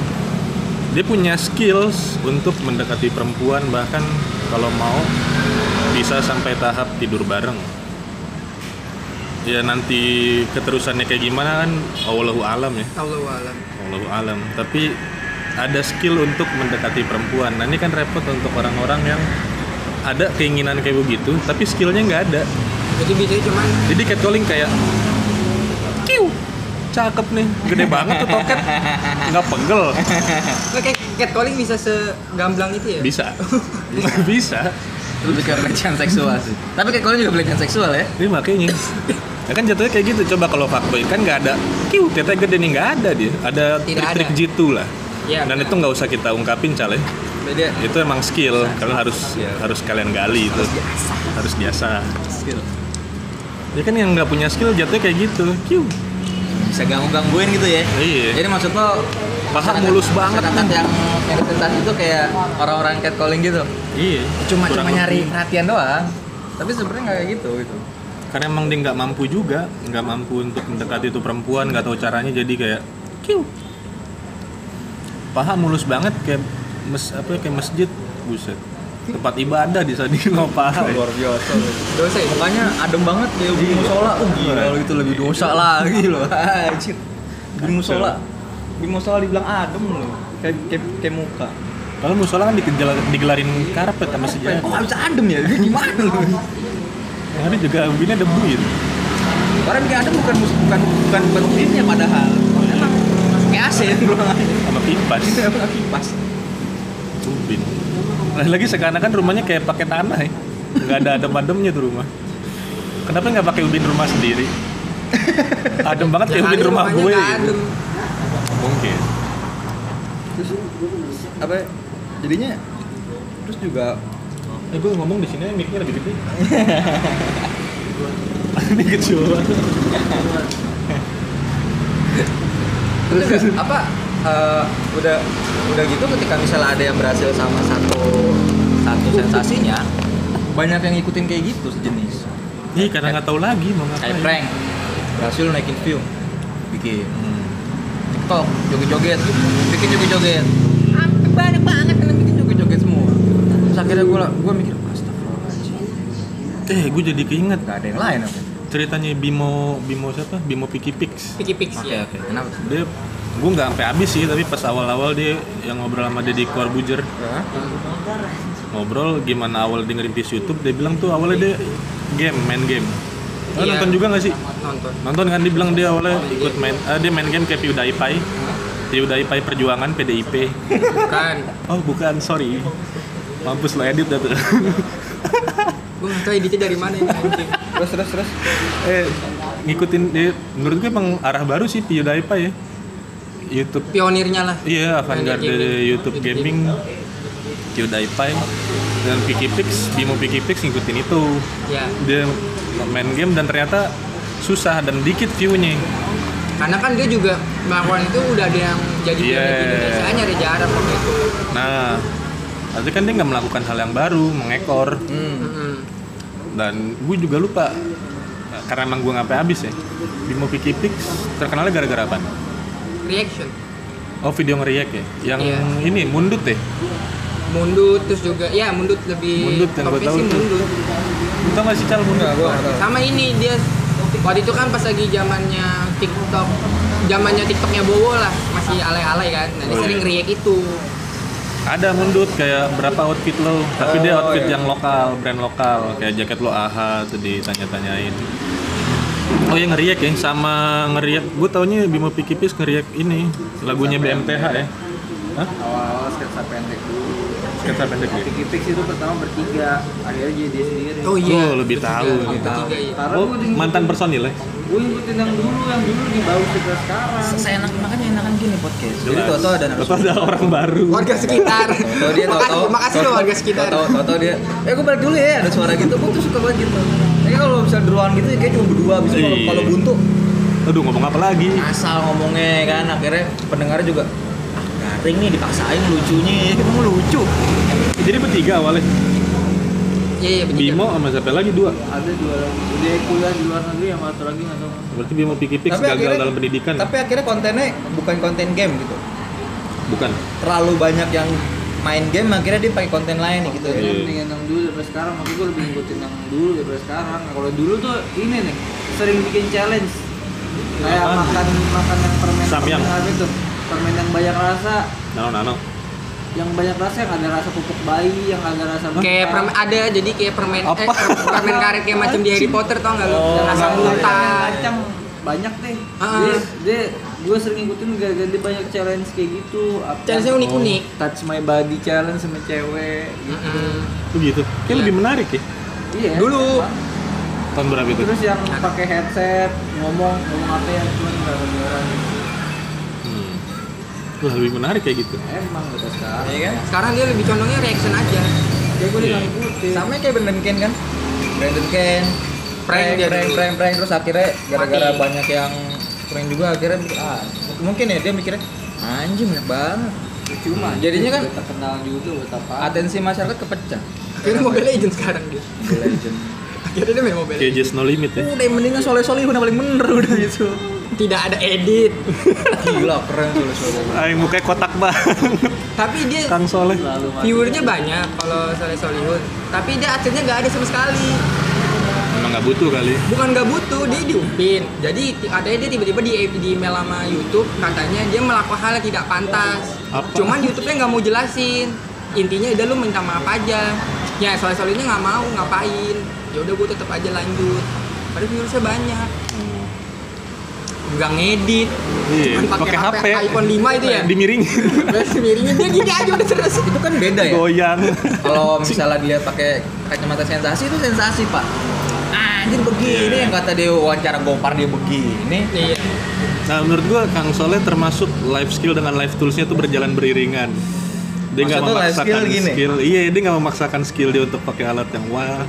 C: dia punya skills untuk mendekati perempuan bahkan kalau mau bisa sampai tahap tidur bareng ya nanti keterusannya kayak gimana kan Allahu alam ya
A: Allah alam
C: Allahu alam. Tapi ada skill untuk mendekati perempuan. Nah ini kan repot untuk orang-orang yang ada keinginan kayak begitu, tapi skillnya nggak ada.
A: jadi biasanya cuman
C: Jadi catcalling kayak, kiu, cakep nih, gede banget tuh toket, nggak pegel,
A: nggak kayak catcalling bisa segamblang itu ya
C: bisa, *laughs* bisa.
B: lebih ke pelecehan seksual sih tapi kayak kalian juga pelecehan seksual ya
C: Ini makanya. Ya kan jatuhnya kayak gitu. Coba kalau fuckboy kan nggak ada, kiu, teteh gede nih nggak ada dia. Ada
A: Tidak
C: trik-trik
A: ada.
C: jitu lah.
A: Iya,
C: Dan
A: benar.
C: itu nggak usah kita ungkapin ya. cale.
B: beda
C: itu emang skill kalian harus harus kalian gali itu harus biasa
B: skill
C: ya kan yang nggak punya skill jatuhnya kayak gitu kiu
B: bisa ganggu gangguin gitu ya
C: Iya.
B: jadi maksud lo
C: Paha
B: masyarakat-
C: mulus banget.
B: masyarakat yang yang sensasi itu kayak orang-orang catcalling gitu
C: iya
B: cuma
C: Kurang
B: cuma
C: lebih.
B: nyari perhatian doang tapi sebenarnya nggak kayak gitu gitu
C: karena emang dia nggak mampu juga nggak mampu untuk mendekati itu perempuan nggak tahu caranya jadi kayak kiu paha mulus banget kayak mes apa ya, kayak masjid buset tempat ibadah di sana nggak paha ya.
B: biasa
A: dosa ya
B: mukanya adem banget kayak di musola oh gila lo itu lebih dosa lagi lo *laughs* anjir di musola di musola dibilang adem lo kayak kayak, kayak muka
C: kalau musola kan digejala- digelarin karpet sama
B: Kayak,
C: sejadah
B: kok bisa adem ya Dia gimana lo
C: yang ada juga gitu, begini ada buit
B: Orang bikin adem bukan mus- bukan bukan bukan mesinnya padahal emang kayak AC *laughs* yang bilang
C: sama kipas
B: itu emang kipas
C: Tumbin. Lagi-lagi sekarang kan rumahnya kayak pakai tanah ya. Nggak ada adem-ademnya tuh rumah. Kenapa nggak pakai ubin rumah
A: *laughs*
C: sendiri? Adem banget kayak ubin
A: kali
C: rumah
A: rumahnya
C: gue.
A: nggak
C: gitu.
A: adem.
C: Mungkin.
B: terus apa ya, jadinya terus juga
C: Eh gue ngomong di sini gitu, mic-nya lebih gede. *laughs* Ini kecil banget.
B: terus juga, apa eh, udah udah gitu ketika misalnya ada yang berhasil sama satu satu sensasinya banyak yang ngikutin kayak gitu sejenis
C: Ih, karena nggak tahu lagi mau ngapain.
B: kayak prank berhasil naikin view bikin
C: Hmm.
B: TikTok joget-joget bikin joget-joget sampai banyak banget yang bikin joget-joget semua terus akhirnya gue gue mikir astagfirullahaladzim
C: Eh, gue jadi keinget
B: nggak ada yang lain apa
C: ceritanya Bimo Bimo siapa? Bimo Piki Pix.
A: Piki Pix ya
B: oke kenapa tuh?
C: Dia gue nggak sampai habis sih, tapi pas awal-awal dia yang ngobrol sama Deddy Corbuzier
B: Hah?
C: ngobrol gimana awal dengerin di YouTube dia bilang tuh awalnya dia game main game Lo
A: Iya.
C: nonton juga nggak sih
A: nonton
C: nonton kan dia bilang dia awalnya ikut main eh, dia main game kayak PewDiePie PewDiePie perjuangan PDIP
A: bukan
C: oh bukan sorry mampus lo edit dah tuh
A: gue nggak tahu editnya dari mana ini anjing
B: terus terus terus
C: eh ngikutin dia menurut gue emang arah baru sih PewDiePie ya YouTube
A: pionirnya lah
C: Iya, avant-garde
A: Pionir gaming.
C: YouTube gaming, PewDiePie, dan PikiPix, Bimo PikiPix ngikutin itu.
B: Iya.
A: ya
C: Dia main game dan ternyata susah dan dikit view-nya.
A: karena kan dia juga melakukan itu udah ada yang jadi
C: Iya.
A: pionir di Indonesia hanya Reza Arab waktu itu
C: Nah, artinya kan dia nggak melakukan hal yang baru, mengekor.
B: hmm.
A: Mm-mm.
C: Dan gue juga lupa, karena emang gue sampai habis ya, Bimo PikiPix terkenalnya gara-gara apa?
A: reaction
C: Oh, video nge-react ya? Yang
A: Iya.
C: ini, mundut ya? deh.
A: mundut terus juga ya mundut lebih
C: Mundut yang gua
A: topiknya
C: tahu
A: sih
C: tuh.
A: mundut
C: Lu tau nggak sih, Cal, mundut?
B: enggak gue nggak tahu
A: sama ini dia waktu itu kan pas lagi zamannya TikTok zamannya TikToknya Bowo lah masih alay-alay kan nah dia
C: Oh,
A: sering
C: iya.
A: react itu
C: Ada mundut kayak berapa outfit lo, tapi dia
B: Oh,
C: outfit
B: iya.
C: yang lokal, brand lokal, kayak jaket lo AHA tuh ditanya-tanyain. Oh yang ngeriak ya, sama ngeriak, gue taunya Bimo Pikipis ngeriak ini lagunya BMTH ya. Hah?
B: awal-awal sketsa pendek dulu
C: Sketsa pendek ya.
B: Pix itu pertama bertiga akhirnya jadi dia sendiri
A: oh iya
C: Oh, lebih
A: Ketiga-
C: tahu nih.
A: ketiga iya.
B: Karena
C: Oh, mantan personil ya.
B: gue ngikutin yang dulu yang dulu di bawah kita sekarang Ya. saya enak makanya enakan gini podcast jadi
C: Iya.
B: tau tau ada
C: Tau-tau ada orang baru.
A: warga sekitar
B: tau dia tau tau
A: makasih makasih loh warga sekitar
B: tau tau dia eh gue balik dulu ya ada suara gitu gue tuh suka banget gitu tapi kalau misalnya di ruangan gitu ya kayak cuma berdua bisa kalau
C: Iya.
B: kalau buntu
C: Aduh ngomong apa lagi?
B: asal ngomongnya kan akhirnya pendengarnya juga
D: garing nih dipaksain lucunya emang lucu
C: Jadi bertiga awalnya.
A: Iya iya bertiga.
C: Bimo sama siapa lagi dua.
D: ada dua lagi dia kuliah di luar negeri sama satu lagi nggak tahu
C: Berarti Bimo pikir-pikir
B: Tapi
C: gagal
B: akhirnya-
C: dalam pendidikan. ya?
B: Tapi akhirnya kontennya bukan konten game gitu.
C: Bukan.
B: Terlalu banyak yang main game akhirnya dia pakai konten lain gitu.
D: Gitu,
C: Iya.
D: mendingan yang dulu daripada sekarang makanya gue lebih ngikutin yang dulu daripada sekarang nah, kalau dulu tuh ini nih sering bikin challenge kayak
C: Apaan?
D: makan makan yang permen
C: Samyang.
D: permen apa itu permen yang banyak rasa
C: Nano nano.
D: yang banyak rasa yang ada rasa pupuk bayi yang ada rasa
A: Kayak
D: mentah.
A: permen ada jadi kayak permen eh,
B: Apa?
A: permen karet kayak macam di Harry Potter tau nggak lu?
B: Oh,
A: Yang
D: Yang
A: rasa
D: asam
A: mutan.
D: kacang banyak deh
A: Ah.
D: dia, dia gue sering ngikutin gak ganti banyak challenge kayak gitu apa oh,
A: Challenge-nya unik-unik.
D: touch my body challenge sama cewek gitu
A: Mm-mm.
C: Tuh gitu. Kayak
A: Iya.
C: lebih menarik ya.
D: iya
A: Dulu.
D: emang.
C: Tahun berapa itu?
D: terus yang pakai headset ngomong ngomong apa ya cuma gitu. nggak kedengeran
C: Hmm. Wah, lebih menarik kayak gitu.
D: emang udah sekarang
B: Iya kan?
A: Sekarang dia lebih condongnya reaction aja.
D: kayak gue udah
C: Iya.
D: nggak ngikutin
B: Sama kayak Brandon Ken kan? Brandon Ken
A: Prank dia
B: prank,
A: dulu.
B: prank, prank, terus akhirnya gara-gara
A: Mati.
B: banyak yang prank juga akhirnya ah, mungkin ya dia mikirnya anjing banyak banget
D: cuma
B: Jadinya kan-
D: terkenal juga buat apa
B: atensi masyarakat kepecah
A: Akhirnya Mobile Legends sekarang dia.
B: legend
A: Akhirnya dia main Mobile
C: Kayak just
A: Legends.
C: no limit ya.
B: udah yang mendingan soleh soleh udah paling bener udah gitu
A: Tidak ada
B: *laughs*
A: edit.
B: gila keren soleh soleh
C: Aing mukanya kotak banget.
A: Tapi dia
C: *laughs* Kang Soleh.
D: selalu mati.
A: viewernya banyak kalau Soleh Solihun. Tapi dia akhirnya nggak ada sama sekali.
C: Emang nggak butuh kali.
A: Bukan nggak butuh, dia diupin. Jadi ti- katanya dia tiba-tiba di, di email sama YouTube katanya dia melakukan hal yang tidak pantas.
C: Apa?
A: Cuman YouTube-nya nggak mau jelasin. Intinya udah lu minta maaf aja. Ya Soleh Solihunnya nggak mau ngapain. Ya udah gue tetap aja lanjut. Padahal viewersnya banyak. Nggak ngedit. *clears throat*
C: Iya.
A: Cuman
C: Pakai HP.
A: iPhone 5 itu
C: *laughs*
A: ya.
C: Dimiringin.
A: Terus miringin dia gini aja udah
C: *laughs*
A: terus.
C: Iya.
B: itu kan beda ya
C: Goyang.
B: kalau misalnya dilihat pakai kacamata sensasi itu sensasi pak anjir begini yang kata dia wawancara gopar dia begini
A: Iya.
C: Nah menurut gua Kang Soleh termasuk life skill dengan life toolsnya tuh berjalan beriringan. Dia nggak
B: Maksudnya life skill
C: memaksakan skill,
B: gini?
C: iya dia nggak memaksakan skill dia untuk pakai alat yang wah.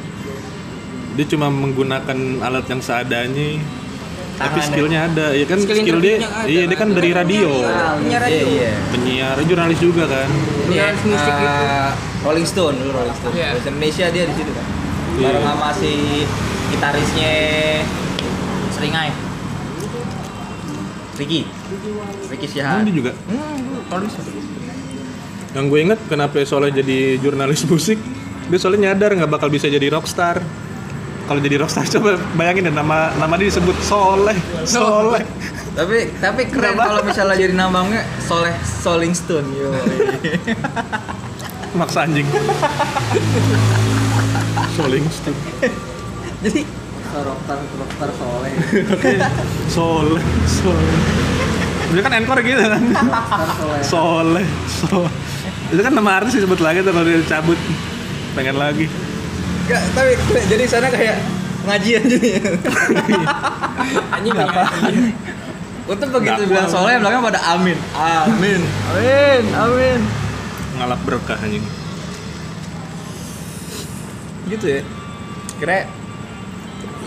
C: Dia cuma menggunakan alat yang seadanya.
B: Tangan
C: tapi
B: ya?
C: skillnya ada, ya kan skill,
A: Skill
C: dia,
A: interviewnya ada,
C: iya dia kan dari
A: kan
C: radio,
A: penyiar. Penyiar radio.
B: Iya,
C: penyiar, jurnalis juga kan.
B: Ini
A: Iya, musik
B: eh,
C: Ah.
A: gitu.
B: Rolling Stone dulu Rolling Stone.
A: Iya.
B: Bahasa Indonesia dia di situ kan.
C: Iya.
B: Bareng sama si gitarisnya Seringai. Ricky. Ricky
C: Emang
B: Syahab.
C: dia juga.
B: Hmm, Rolling Stone.
C: Yang gue inget kenapa Soleh jadi jurnalis *laughs* musik, dia soalnya nyadar nggak bakal bisa jadi rockstar. Kalau jadi rockstar *laughs* coba bayangin deh nama nama dia disebut Soleh, Soleh.
B: Tapi tapi keren
C: Kenapa?
B: kalau misalnya jadi namanya Soleh Rolling Stone. Yo.
C: maksa *laughs* anjing Soling stick
B: jadi
D: dokter dokter soleh
C: soleh soleh dia kan encore gitu kan
D: dokter soleh
C: soleh soleh itu kan nama artis disebut lagi tuh kalau dia cabut pengen lagi
B: enggak tapi keren. jadi sana kayak ngajian jadi.
A: Anjing apa?
B: Untuk begitu
C: Dakwah.
B: bilang soleh belakang pada amin. Amin.
D: amin amin
C: ngalap berkah anjing
B: gitu ya kira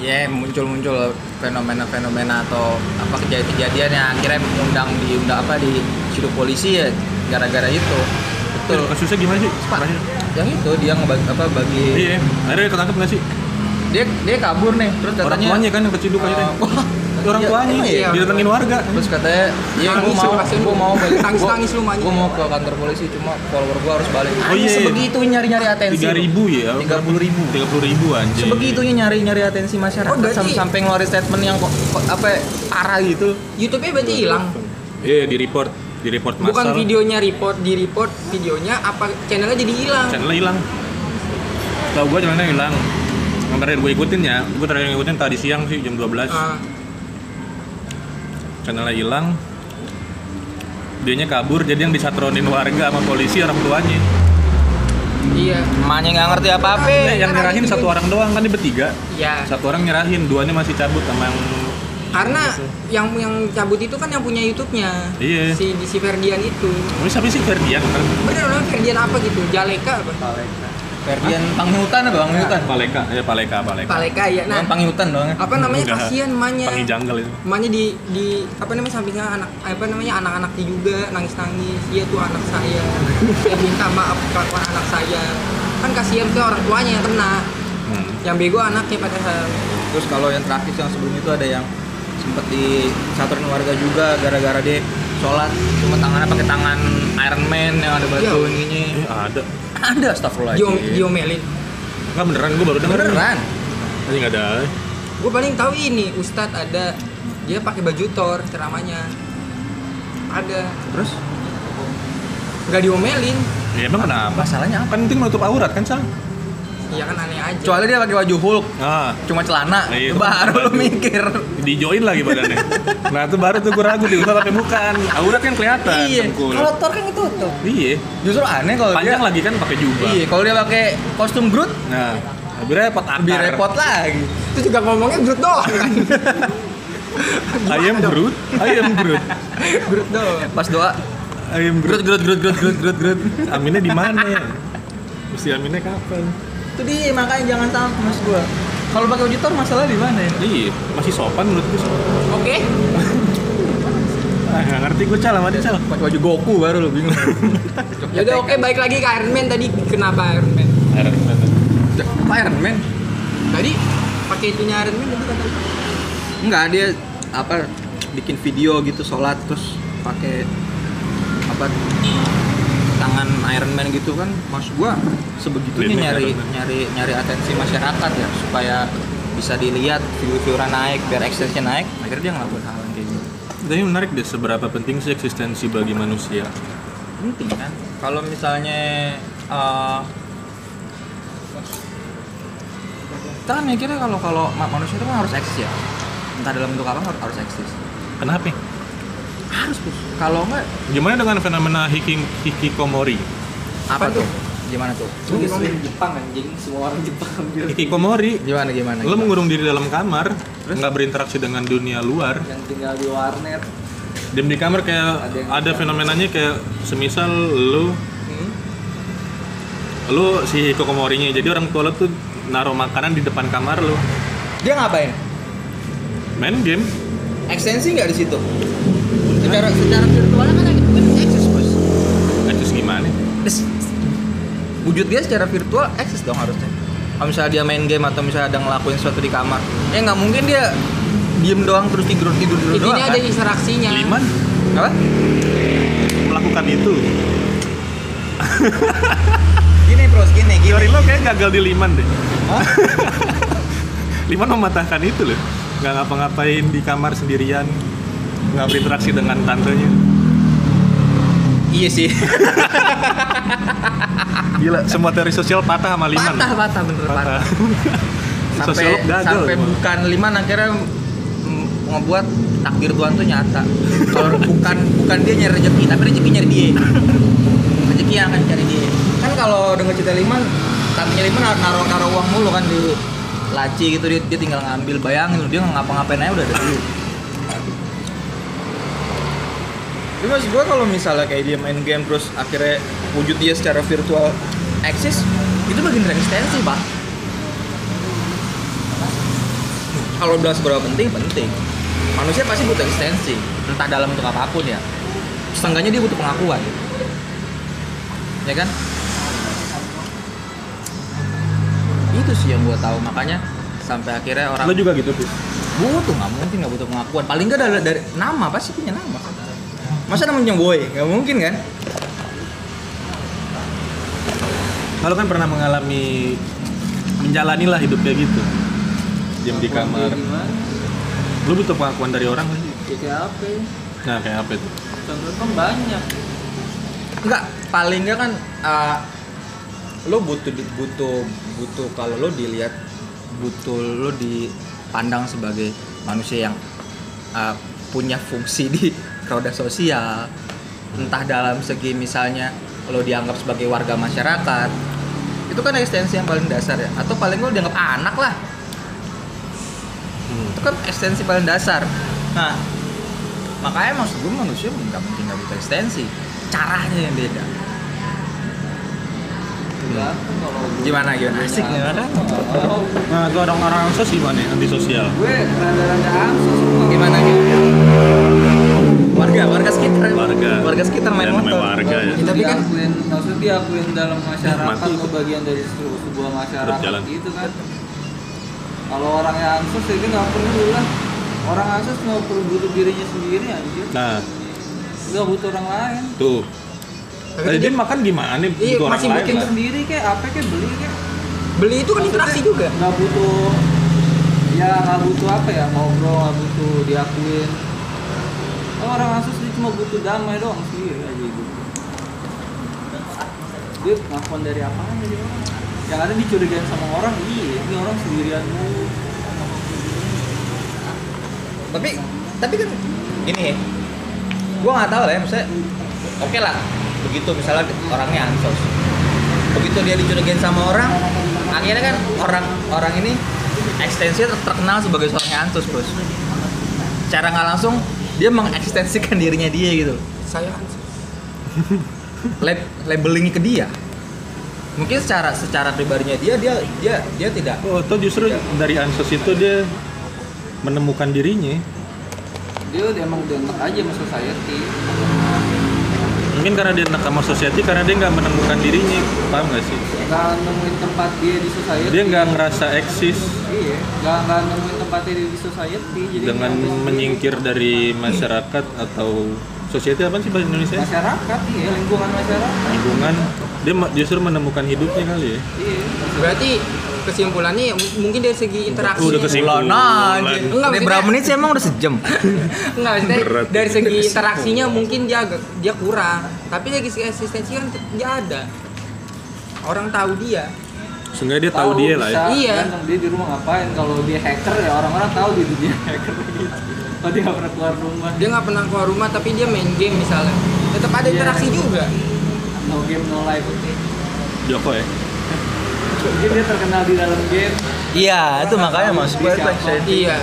B: ya muncul-muncul fenomena-fenomena atau apa kejadian-kejadian yang akhirnya mengundang diundang apa di situ polisi ya gara-gara itu betul
C: Eh, kasusnya gimana sih parahnya
B: yang itu dia ngebagi apa bagi
C: iya akhirnya ketangkep nggak sih
B: dia dia kabur nih terus
C: orang
B: katanya
C: tuanya kan yang keciduk
B: eh,
C: akhirnya
B: wah,
C: orang
B: iya,
C: tuanya
B: emang iya.
C: didatengin warga
B: terus katanya iya gue
A: Nangis
B: mau
A: lu pasti lu.
B: gue mau balik
A: Tangis- tangis lu, Manyu.
B: gue mau ke kantor polisi cuma follower gue harus balik
C: Oh, iya,
B: Anjing,
C: iya.
B: sebegitu nyari-nyari atensi
C: tiga ribu ya
B: tiga puluh ribu ya.
C: tiga puluh ribu anjing
B: sebegitunya nyari nyari atensi masyarakat
A: Oh, berarti-
B: sam- sampai ngeluarin statement yang kok, kok apa ya, parah gitu
A: YouTube-nya berarti hilang.
C: iya di report di report massal
A: Bukan videonya report, di report videonya apa channelnya jadi hilang.
C: channelnya hilang tau gue channelnya hilang yang terakhir gue ikutin ya gue terakhir ngikutin tadi siang sih jam 12
A: Ah,
C: channelnya hilang dianya kabur jadi yang disatronin warga sama polisi orang tuanya
A: iya.
B: emaknya nggak ngerti apa apa
C: Eh, yang nyerahin satu orang doang kan dia bertiga
A: Ya.
C: satu orang nyerahin duanya masih cabut sama yang
A: Karena yang yang cabut itu kan yang punya YouTube-nya.
C: Iya.
A: Si si Ferdian itu.
C: ini siapa sih Ferdian kan
A: Bener namanya Ferdian apa gitu? Jaleka apa?
D: Paleka
B: Ferdian Pangi Hutan apa Pangi Hutan?
C: Paleka, ya Paleka, Paleka.
A: Paleka ya. Nah,
B: Bukan Pangi Hutan dong.
A: apa namanya
C: Enggak.
A: kasihan emaknya.
C: Pangi jungle itu.
A: Emaknya di di apa namanya sampingnya anak apa namanya anak-anaknya juga nangis-nangis. Iya tuh anak saya. saya minta maaf kelakuan anak saya. Kan kasihan ke orang tuanya yang kena.
C: Hmm.
A: Yang bego anaknya padahal.
B: Terus kalau yang terakhir yang sebelum itu ada yang sempat disaturin warga juga gara-gara dia sholat cuma tangannya pakai tangan Iron Man yang ada batu
A: Iya.
B: ininya.
C: Eh, ada.
B: Ada astagfirullah.
A: Diom, diomelin.
C: Enggak beneran, gue baru denger.
B: Beneran.
C: Ini enggak ada.
A: Gue paling tahu ini Ustadz ada dia pakai baju tor ceramahnya. Ada.
B: Terus
A: Nggak diomelin.
C: Ya emang kenapa?
B: masalahnya apa?
C: Kan penting menutup aurat kan, Sang?
A: Iya kan aneh aja.
B: Kecuali dia pakai baju Hulk,
C: Ah,
B: cuma celana,
C: Nah, iya.
B: baru lu mikir.
C: dijoin lagi badannya. nah, itu baru tuh gue ragu di usaha tapi bukan. Aurat kan kelihatan, tengkul.
B: Kalau Thor kan ketutup.
C: Iya.
B: Justru aneh kalau dia
C: Panjang lagi kan pakai jubah.
B: Iya, kalau dia pakai kostum Groot
C: Nah, lebih repot akar.
B: lebih repot lagi.
A: itu juga ngomongnya brut doang kan.
C: I am Groot. I am Groot.
A: brut doang.
B: Pas doa
C: I am Groot.
B: Groot Groot Groot Groot Groot Groot Groot.
C: Aminnya di mana ya? Mesti aminnya kapan?
B: Itu dia makanya jangan sama mas gua. Kalau pakai baju Thor masalah di mana ya?
C: Iya, masih sopan menurut gue.
A: Oke.
C: Ah, nggak ngerti gue cal sama dia cal.
B: Pakai baju Goku baru lu bingung.
A: Ya udah oke baik lagi ke Iron Man tadi kenapa Iron Man?
B: Pak Iron Man.
A: Tadi pakai itunya Iron Man tadi kata lu.
B: Enggak, dia apa bikin video gitu sholat terus pakai apa tangan Iron Man gitu kan mas gua sebegitunya
C: Liriknya
B: nyari
C: Iron Man.
B: nyari nyari atensi masyarakat ya supaya bisa dilihat view-view-nya naik biar extension naik akhirnya dia ngelakuin hal yang kayak gitu
C: Tapi menarik deh seberapa penting sih eksistensi bagi manusia.
B: penting kan kalau misalnya eh kita kan mikirnya kalau kalau ma- manusia itu kan harus eksis ya entah dalam bentuk apa harus harus eksis
C: Kenapa?
B: harus Bos. kalau enggak
C: Gimana dengan fenomena hiki hikikomori?
B: apa
A: Apa
B: tuh gimana tuh Gitu
A: Lu
D: Lu
A: ngomongin
D: ngomongin Jepang kan, anjing, semua orang Jepang hampir
C: Hikikomori,
B: gimana gimana
C: lo
B: gimana?
C: mengurung diri dalam kamar, nggak berinteraksi dengan dunia luar.
D: yang tinggal di warnet.
C: Diam di kamar kayak
D: Ada yang-
C: ada fenomenanya kayak semisal lo
A: Hmm.
C: lo si hikikomorinya. Jadi orang tua lo tuh naruh makanan di depan kamar lo.
B: dia ngapain
C: Main game.
B: ekstensi nggak di situ secara secara virtualnya kan kan eksis bos
C: Nah, terus gimana?
B: Des. wujud dia secara virtual eksis dong harusnya kalau misalnya dia main game atau misalnya ada ngelakuin sesuatu di kamar ya nggak mungkin dia diem doang terus tidur tidur dulu doang
A: Intinya ada
B: kan?
A: interaksinya.
C: Liman
B: apa
C: melakukan itu.
B: gini bro gini
C: Teori lo kayak gagal di Liman deh. *laughs* Liman mematahkan itu loh. Nggak ngapa-ngapain di kamar sendirian. Nggak berinteraksi dengan tantenya.
B: iya sih
C: Gila, semua teori sosial patah sama Liman.
B: patah patah bener
A: *laughs*
B: patah,
C: Patah.
B: sampai
C: Sosiolog gagal.
B: sampai
C: Liman.
B: bukan liman akhirnya mm, ngebuat takdir Tuhan tuh nyata *laughs* kalau bukan bukan dia nyari rezeki tapi rezeki nyari dia rezeki yang akan cari dia kan kalau denger cerita liman tantenya liman nar- naruh naruh uang mulu kan di laci gitu dia, dia tinggal ngambil bayangin lu, dia ngapa-ngapain aja udah ada duit Tapi maksud gue kalau misalnya kayak dia main game terus akhirnya wujud dia secara virtual eksis, itu bagian dari eksistensi pak. Kalau bilang seberapa penting, penting. Manusia pasti butuh eksistensi, entah dalam bentuk apapun ya. Setengahnya dia butuh pengakuan. Ya kan? Itu sih yang gue tahu makanya sampai akhirnya orang
C: Lo juga gitu, Pis?
B: butuh nggak mungkin nggak butuh pengakuan paling nggak dari, dari nama pasti punya nama masa namanya boy nggak mungkin kan
C: Lo kan pernah mengalami menjalani lah hidup kayak gitu. Diam di kamar.
D: Kayak Gimana?
C: Lo butuh pengakuan dari orang nggak sih?
D: Ya kayak apa? ya?
C: Nah, kayak apa itu?
D: Contohnya kan banyak.
B: nggak paling nggak kan uh, lo butuh di- butuh butuh kalau lo dilihat butuh lo dipandang sebagai manusia yang uh, punya fungsi di *laughs* roda sosial entah dalam segi misalnya lo dianggap sebagai warga masyarakat itu kan eksistensi yang paling dasar ya atau paling lo dianggap anak lah
C: Hmm.
B: itu kan ekstensi paling dasar nah makanya maksud gue manusia nggak mungkin nggak butuh ekstensi caranya yang beda
D: ganteng kalau gue.
B: Gimana gimana?
D: Asik gimana?
C: Nah, ke orang-orang ansos gimana ya? Antisosial.
D: Gue rada-rada angsus semua.
B: Gimana nih? Warga, warga sekitar.
C: Warga.
B: Warga sekitar main
C: Ya, namanya
B: motor.
C: warga ya.
D: Itu
A: Tapi kan-
D: diakuin, maksudnya diakuin dalam masyarakat
C: Mati.
D: atau bagian dari sebuah, sebuah masyarakat
C: Tetap jalan.
D: gitu kan. Kalau orang yang angsus itu nggak perlu lah. Orang angsus mau perlu butuh dirinya sendiri anjir.
C: Nah,
D: Nggak butuh orang lain.
C: tuh.
A: Tapi
C: Tadi
A: dia
C: dia makan gimana?
A: Iya,
C: Butuh orang
A: masih
C: lain
A: bikin
D: Bikin
C: lah.
D: sendiri kayak apa kayak beli kayak
A: beli itu kan interaksi juga.
D: nggak butuh ya nggak butuh apa ya ngobrol nggak butuh diakuin oh, orang asus dia cuma butuh damai doang sendiri aja itu gitu. dia ngakuan dari apa dari orang yang ada dicurigain sama orang iya ini orang sendirian mulu
B: tapi tapi kan gini ya gue nggak tahu lah ya maksudnya oke lah begitu misalnya orangnya ansos begitu dia dicurigain sama orang akhirnya kan orang orang ini eksistensinya ter- terkenal sebagai seorang yang ansos bos cara nggak langsung dia mengekstensikan dirinya dia gitu
A: Saya ansos.
B: Lab, labelingnya ke dia mungkin secara secara pribadinya dia dia dia dia tidak
C: Oh, atau justru dari ansos itu dia menemukan dirinya.
D: dia udah emang udah enak aja sama society
C: Mungkin karena dia nakama society karena dia nggak menemukan dirinya. Paham nggak sih?
D: nggak nemuin tempat dia di society
C: Dia nggak ngerasa eksis
D: iya nggak nggak nemuin tempatnya dia di society jadi
C: dengan
D: dia-
C: menyingkir dari masyarakat atau society apa sih bahasa Indonesia?
D: masyarakat iya lingkungan masyarakat
C: Lingkungan. Dia ma- justru menemukan hidupnya kali ya.
D: iya
A: Berarti kesimpulannya ya m- mungkin dari segi interaksi.
C: Udah kesimpulan.
B: Nah, anjing.
A: Enggak,
B: Ini berapa
A: maksudnya-
B: menit sih emang udah sejam?
A: Enggak, maksudnya
C: Berat.
A: dari
C: *laughs*
A: segi interaksinya mungkin dia agak- dia kurang, tapi dari segi eksistensi kan tet- dia ada. Orang tahu dia.
C: Sehingga dia tahu dia lah ya.
D: bisa,
A: Iya.
D: tergantung dia di rumah ngapain kalau dia hacker ya orang-orang tahu gitu dia *laughs* hacker gitu kalau dia nggak pernah keluar rumah
A: Dia nggak pernah keluar rumah tapi dia main game misalnya. Tetap ada
D: Iya.
A: interaksi juga.
D: no game no life
C: Joko ya.
D: mungkin dia terkenal di dalam game
B: Iya, itu makanya mas.
D: Bisa.
A: Iya.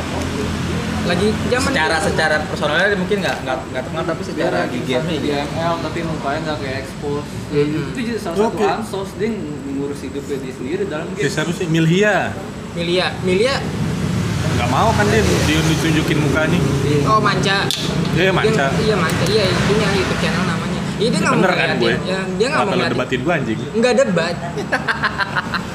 A: Lagi zaman
B: secara secara personalnya dia mungkin nggak nggak nggak terkenal tapi
D: dia
B: secara di
D: lagi
B: game
D: di ML tapi mukanya nggak kayak expose Ya,
A: Mhm.
D: itu jadi salah satu
C: Oke.
D: ansos dia ngurus hidupnya dia sendiri dalam game
C: Cesar sih Milhia.
A: Milia, Milia
C: Nggak mau kan dia dia ditunjukin mukanya.
D: Iya.
A: oh manca.
C: Dia manca.
A: Dia- iya manca. Iya, itu yang YouTube channel namanya. Iya, dia nggak mau
C: Bener kan
A: ngeliatin.
C: gue?
A: Ya, dia
C: Kenapa
A: nggak mau
C: lu
A: ngeliatin.
C: debatin gue anjing?
A: Enggak
C: *laughs*
A: debat.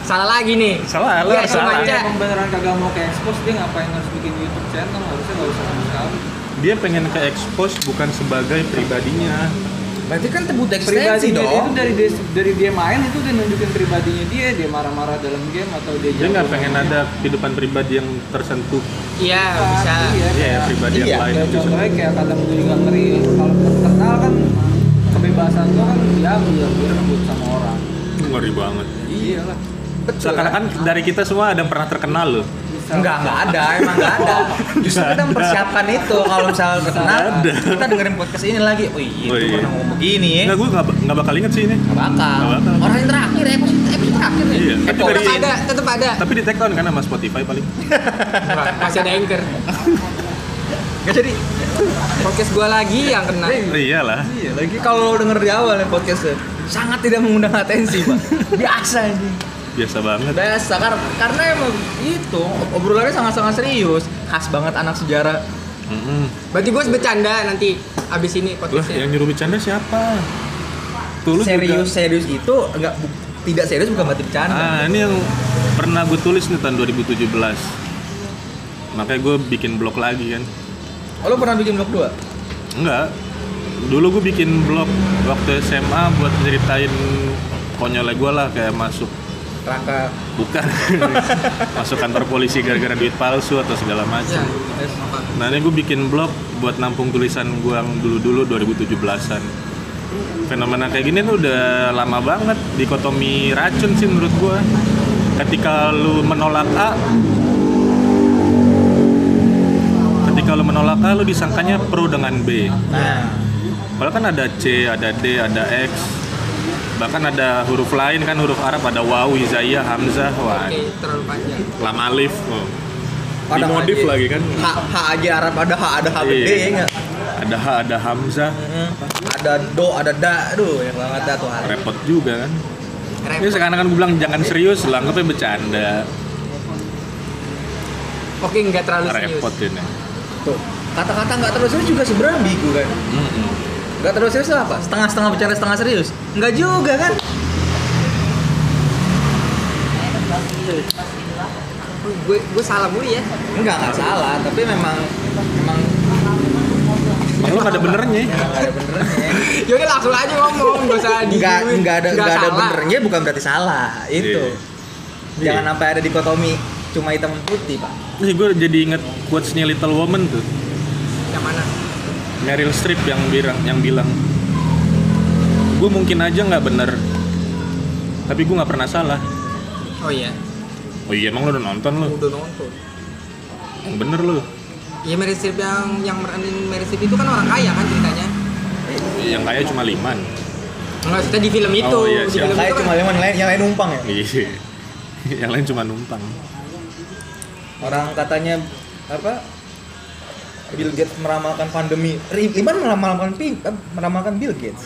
A: Salah lagi nih.
C: Salah, lu
A: Iya,
C: harus
A: itu
C: salah.
D: Kalau
A: manca.
D: dia emang beneran kagak mau kayak expose dia ngapain harus bikin YouTube channel harusnya nggak usah sama sekali
C: Dia pengen ke expose bukan sebagai pribadinya.
B: Berarti kan tebu eksistensi
D: pribadinya dia itu
B: dong.
D: dari dia, dari dia main itu dia nunjukin pribadinya dia dia marah-marah dalam game atau dia
C: Dia
D: jago
C: nggak pengen
D: main.
C: ada kehidupan pribadi yang tersentuh.
A: Iya,
D: Ah,
A: bisa.
D: iya,
C: Iya,
D: kayak-
C: pribadi
B: Iya.
C: yang lain
D: kayak
C: itu
D: contohnya kayak kadang gue juga ngeri kalau terkenal kan kebebasan lo kan dia ambil dia rebut sama orang
C: ngeri banget.
D: iyalah
B: Betul.
C: Seakan-akan dari kita semua ada yang pernah terkenal loh.
D: bisa
B: Enggak, enggak ada, emang enggak ada. Justru
C: Nggak
B: kita
C: ada.
B: mempersiapkan itu kalau misalnya terkenal,
C: ada.
B: kita dengerin podcast ini lagi. Oh iya,
C: Oh
B: itu
C: iya.
B: pernah ngomong begini ya.
C: Enggak, gue nggak nggak bakal inget sih ini.
B: Nggak bakal.
C: Nggak bakal.
B: Orang yang terakhir,
A: ya,
B: episode episode terakhir nih.
C: Iya, tapi
B: Episode
A: Tetap
C: dari-
A: ya? ada, tetap ada.
C: Tapi di take down kan sama Spotify paling.
A: Wah, Masih ada anchor.
B: Nggak jadi.
A: Podcast gua lagi yang kena.
C: Eh, Iyalah.
B: Iya, lagi kalau lo denger di awal ya podcastnya, sangat tidak mengundang atensi, Pak. Biasa ini.
C: Biasa banget.
B: Biasa, kar- karena emang itu obrolannya sangat-sangat serius, khas banget anak sejarah.
C: Mm-mm.
A: Berarti gua bercanda nanti abis
C: Lah,
A: ini
C: iya.
A: podcastnya.
C: yang nyuruh bercanda siapa? Tuh, lu juga.
B: Serius-serius itu enggak bu- tidak serius bukan berarti bercanda.
C: Ah, ini yang pernah gue tulis nih tahun 2017. Makanya gue bikin blog lagi kan.
B: Oh, lo pernah bikin vlog 2?
C: Enggak. Dulu gue bikin blog waktu SMA buat ceritain konyolnya gue lah kayak masuk
B: Raka
C: bukan *laughs* masuk kantor polisi gara-gara duit palsu atau segala
A: Ya,
C: macam.
A: apa?
C: Nah ini gue bikin blog buat nampung tulisan gue yang dulu-dulu 2017-an Fenomena kayak gini tuh udah lama banget Dikotomi racun sih menurut gue Ketika lu menolak A Ketika lu menolak A, lu disangkanya pro dengan B
B: Nah,
C: Padahal kan ada C, ada D, ada X Bahkan ada huruf lain kan, huruf Arab ada Waw, Izaya, Hamzah, Wah,
A: Oke, terlalu panjang.
C: Lam Alif oh.
B: Padahal
C: Dimodif
B: aja.
C: lagi kan
B: H, H aja Arab ada H, ada H gede
C: Iya.
B: ya enggak?
C: Ada H, ada Hamzah
B: Ada do, ada da, aduh yang banget dah tuh hari.
C: repot juga kan
A: Repot.
C: Ini sekarang kan gue bilang jangan serius, lah anggapnya bercanda.
A: Oke, nggak terlalu serius.
C: Repot ini.
B: Tuh, kata-kata nggak terlalu serius juga sebenarnya ambigu kan.
C: Mm-mm.
B: Nggak terlalu serius lah apa? Setengah-setengah bercanda setengah serius? Nggak juga kan?
A: Gue gue Oh, salah mulu ya. *laughs*
B: Nggak, nggak salah. Tapi memang memang
C: Emang lu nggak ada benernya. ya?
B: nggak ada benernya.
A: Ya udah langsung aja ngomong, nggak usah di
B: Nggak nggak ada nggak ada
A: salah.
B: benernya bukan berarti salah itu.
C: Iya.
B: Jangan sampai ada dikotomi cuma hitam putih pak.
C: Nih gue jadi inget quotes-nya Little Woman tuh.
A: Yang mana?
C: Meryl Streep yang bilang yang bilang gue mungkin aja nggak bener tapi gue nggak pernah salah
A: Oh iya,
C: oh iya emang lu udah nonton lu
A: udah nonton.
C: bener lu
A: Iya Meryl Streep yang yang meranin Meryl Streep itu kan orang kaya kan ceritanya.
C: yang kaya cuma liman *laughs*
A: Enggak, kita di film itu.
C: Oh, iya,
A: di
C: siap.
A: film
B: Kayak
A: itu
B: cuma
A: *laughs* kan-
B: yang lain yang lain numpang ya.
C: Iya. yang lain cuma numpang
B: Orang katanya apa? Bill Gates meramalkan pandemi. Liman meramalkan pi, eh, meramalkan Bill Gates.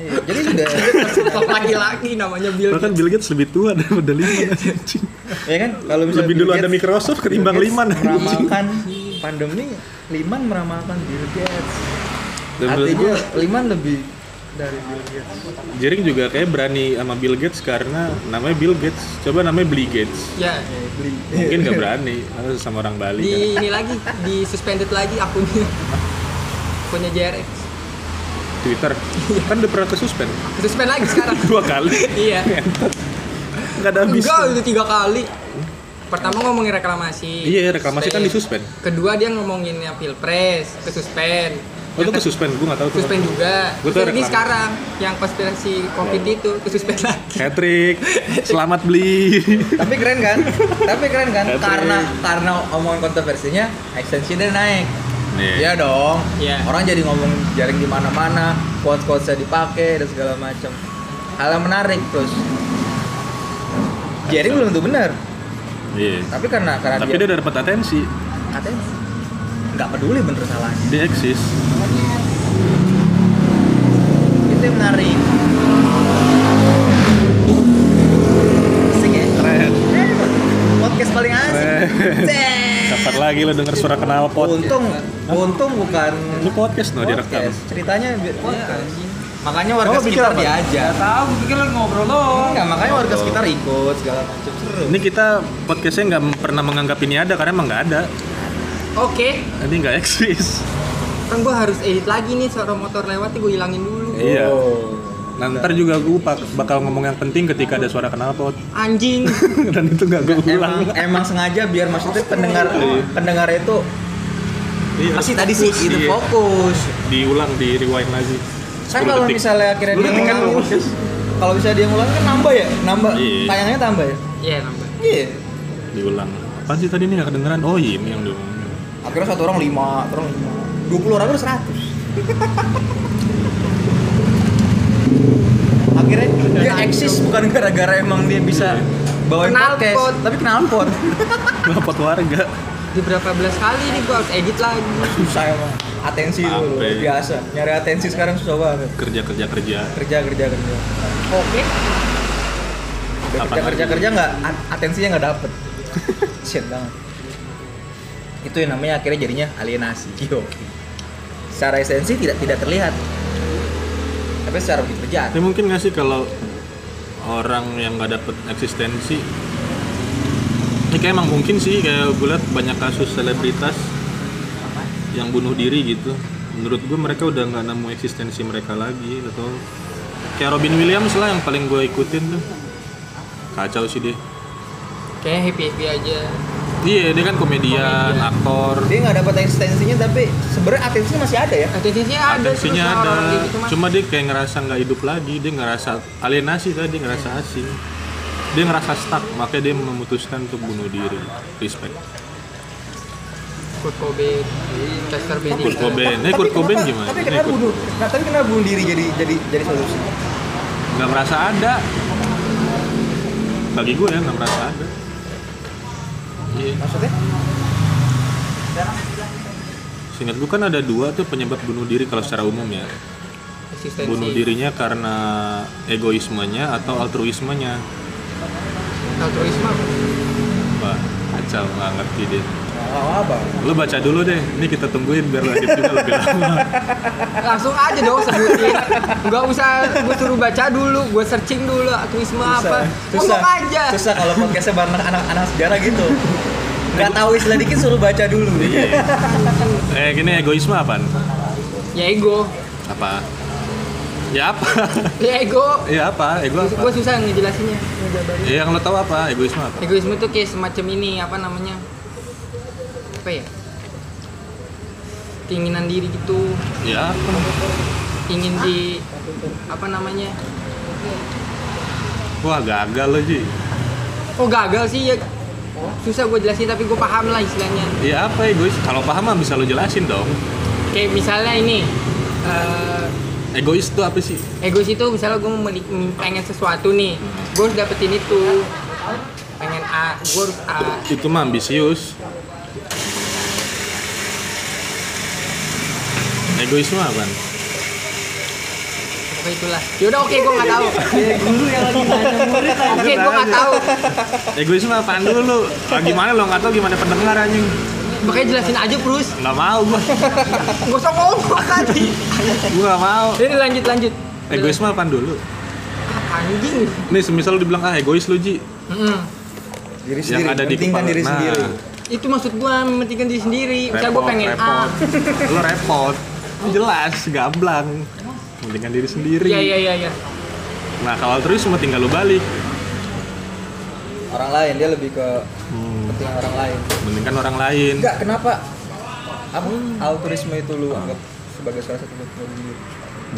B: Iya, jadi udah
A: sosok laki-laki namanya Bill
C: bahkan
A: Gates.
C: Bill Gates lebih tua daripada *laughs* liman anjing.
B: ya kan kalau misalnya
C: lebih
B: Bill
C: dulu ada
B: Gates-
C: Microsoft ketimbang
B: Bill Gates
C: liman anjing.
B: meramalkan pandemi Liman meramalkan Bill Gates
C: Dan menurut
B: artinya
C: gua,
B: Liman lebih dari Bill Gates
C: Jering juga kayak berani sama Bill Gates karena namanya Bill Gates coba namanya Beli Gates
A: Ya,
B: beli
C: mungkin nggak berani harus sama orang Bali kan.
A: di ini lagi, di suspended lagi akunnya. Akunnya JRX.
C: Twitter kan udah pernah kesuspend
A: Suspend lagi sekarang.
C: dua kali
A: iya.
C: nggak ada habisnya
A: Enggak, udah tiga kali. Pertama ngomongin reklamasi.
C: Iya, reklamasi kan disuspend.
A: Suspend. Kedua dia ngomonginnya pilpres, ke suspend.
C: Oh, itu ke suspend, gue gak tau tuh.
A: Iya. suspend juga.
C: Gua tuh
A: Terus ini
C: reklamasi.
A: sekarang yang konspirasi covid itu ke suspend lagi.
C: Patrick, selamat beli.
B: tapi keren
C: *laughs*
B: kan tapi keren kan
C: Tapi-
B: karena karena omongan kontroversinya extensionnya naik Iya dong.
A: Iya.
B: Orang jadi ngomong jaring di mana-mana, quotes-quotesnya dipakai dan segala macam. Hal yang menarik terus. Jaring belum tentu benar,
C: Iya.
B: tapi karena karena
C: Tapi
B: dia,
C: dia udah dapat atensi.
B: katanya nggak peduli bener salahnya.
C: Dia eksis.
B: Itu yang menarik. Asik ya?
C: Keren.
B: Eh, Podcast paling asik.
C: Keren.
B: Cek.
C: Kapan lagi lo denger suara kenal pot?
B: Untung, untung bukan
C: Ini podcast no direkam.
B: podcast. Ceritanya bi-
D: Podcast.
B: Iya, Makanya warga
C: Kamu pikir
B: sekitar
C: apa?
B: diajak.
D: Gak tau, gue pikir lagi ngobrol doang
B: Enggak, makanya warga sekitar ikut segala macam seru.
C: Ini kita podcastnya nggak pernah menganggap ini ada karena emang nggak ada.
A: Oke,
C: Ini nggak eksis.
A: kan gue harus edit lagi nih suara motor lewat gue hilangin dulu.
C: Iya.
B: Oh.
C: Nah, ntar juga gue bakal ngomong yang penting ketika ada suara kenal pot *laughs*
A: Anjing.
C: dan itu nggak gue
B: Emang eh,
C: ulang.
B: emang sengaja biar maksudnya pendengar pendengar itu
C: Iya,
B: pasti tadi sih gitu,
C: fokus,
B: itu
C: iya.
B: fokus.
C: Diulang, di rewind lagi.
B: Kan
C: 10
B: kalau
C: detik.
B: misalnya akhirnya
C: 10
B: dia
C: detik kan
B: ngulangin,
C: podcast.
B: kalau misalnya dia ngulang kan nambah ya, nambah
C: Iya.
B: tayangnya tambah ya.
A: Iya, nambah.
B: Iya.
C: diulang apa sih tadi ini nggak kedengeran oh iya ini yang diomongin *laughs*
B: Akhirnya satu orang lima, satu orang lima, dua puluh orang udah seratus. akhirnya dia eksis bukan gara-gara emang dia bisa bawain
A: Kenal
B: podcast,
A: pot.
B: tapi kenal pot.
C: dapat warga
A: Di berapa belas kali nih gue harus edit lagi.
B: *laughs* susah emang atensi dulu
C: Sampai.
B: biasa nyari atensi sekarang susah banget
C: kerja kerja kerja
B: kerja kerja kerja
A: Oke.
B: Udah
C: Apa
B: kerja kerja
C: lagi?
B: kerja nggak a- atensinya nggak dapet *laughs* shit banget itu yang namanya akhirnya jadinya alienasi yo secara esensi tidak tidak terlihat tapi secara pekerjaan
C: tapi mungkin nggak sih kalau orang yang nggak dapet eksistensi ini kayak emang mungkin sih kayak gue liat banyak kasus selebritas yang bunuh diri gitu menurut gue mereka udah nggak nemu eksistensi mereka lagi atau kayak Robin Williams lah yang paling gue ikutin tuh kacau sih dia
A: Kayaknya happy happy aja.
C: iya dia kan komedian,
A: Komedian.
C: aktor
B: dia nggak dapat eksistensinya tapi sebenarnya atensinya masih ada ya
A: Atensinya ada.
C: atensinya
A: terus
C: ada
A: orang-orang kayak gitu mah.
C: cuma dia kayak ngerasa nggak hidup lagi dia ngerasa alienasi tadi ngerasa asing dia ngerasa stuck makanya dia memutuskan untuk bunuh diri respect
A: Kurt Cobain,
C: Kurt
A: Chester Bennington.
C: Cobain ini
B: Iya. Tapi
C: Kurt Cobain
B: kenapa-
C: gimana
B: tapi
C: Ini
B: kenapa
C: Kurt-
B: bunuh nah, tapi kenapa bunuh diri jadi jadi jadi solusi
C: nggak merasa ada bagi gue ya nggak merasa ada Iya.
B: maksudnya
C: Seingat gue kan ada dua tuh penyebab bunuh diri kalau secara umum ya.
A: eksistensi
C: bunuh dirinya karena egoismenya atau altruismenya
A: altruisme apa?
C: wah kacau nggak ngerti deh
B: Awal apa?
C: lu baca dulu deh ini kita tungguin biar lanjut juga lebih lama
A: Eh, langsung aja dong sebutin nggak usah gue suruh baca dulu gue searching dulu altruisme apa
B: susah,
A: ngomong aja
B: susah kalau podcastnya bareng anak-anak sejarah
A: *laughs*
B: gitu. Gak tahu istilah dikit suruh baca dulu.
C: Iya. eh gini egoisme apaan
A: ya ego
C: apa ya apa
A: ya ego
C: *laughs* ya apa ego apa
A: gue susah ngejelasinnya
C: ya, yang lo tahu apa egoisme apa
A: egoisme tuh kayak semacam ini apa namanya apa ya keinginan diri gitu
C: ya apa?
A: ingin di apa namanya
C: wah gagal lo ji
A: oh gagal sih ya susah gue jelasin tapi gue paham lah istilahnya
C: ya apa egois kalau paham mah bisa lo jelasin dong
A: kayak misalnya ini eh,
C: egois itu apa sih
A: egois itu misalnya gue pengen sesuatu nih gue harus dapetin itu pengen A gue harus A
C: itu mah ambisius egoisme apa
A: oke itulah yaudah oke gue nggak tahu
D: guru yang lagi nanya murid lah.
A: oke gue nggak tahu
C: egoisme apaan dulu lo Ah, gimana lo nggak tahu gimana pendengar anjing
A: makanya jelasin aja terus
C: nggak mau gua
A: gak usah ngomong tadi
C: gua nggak mau
A: jadi lanjut lanjut
C: egoisme apaan dulu
A: Ah, anjing
C: nih semisal lo dibilang ah egois lo ji
A: Mm-mm.
B: *laughs* Diri
C: yang ada di
B: pentingkan
C: kepala
B: diri
C: Nah,
B: sendiri.
A: itu maksud gue mementingkan diri sendiri misalnya gue
C: repot,
A: pengen
C: repot. *laughs*
A: A
C: lo repot jelas gamblang mendingan diri sendiri
A: iya iya iya iya
C: nah kalau altruisme tinggal lo balik
B: Orang lain dia lebih ke
C: hmm,
B: kepentingan orang lain.
C: mendingan orang lain
B: Enggak, kenapa? Apa altruisme itu lu anggap sebagai salah satu bentuk diri?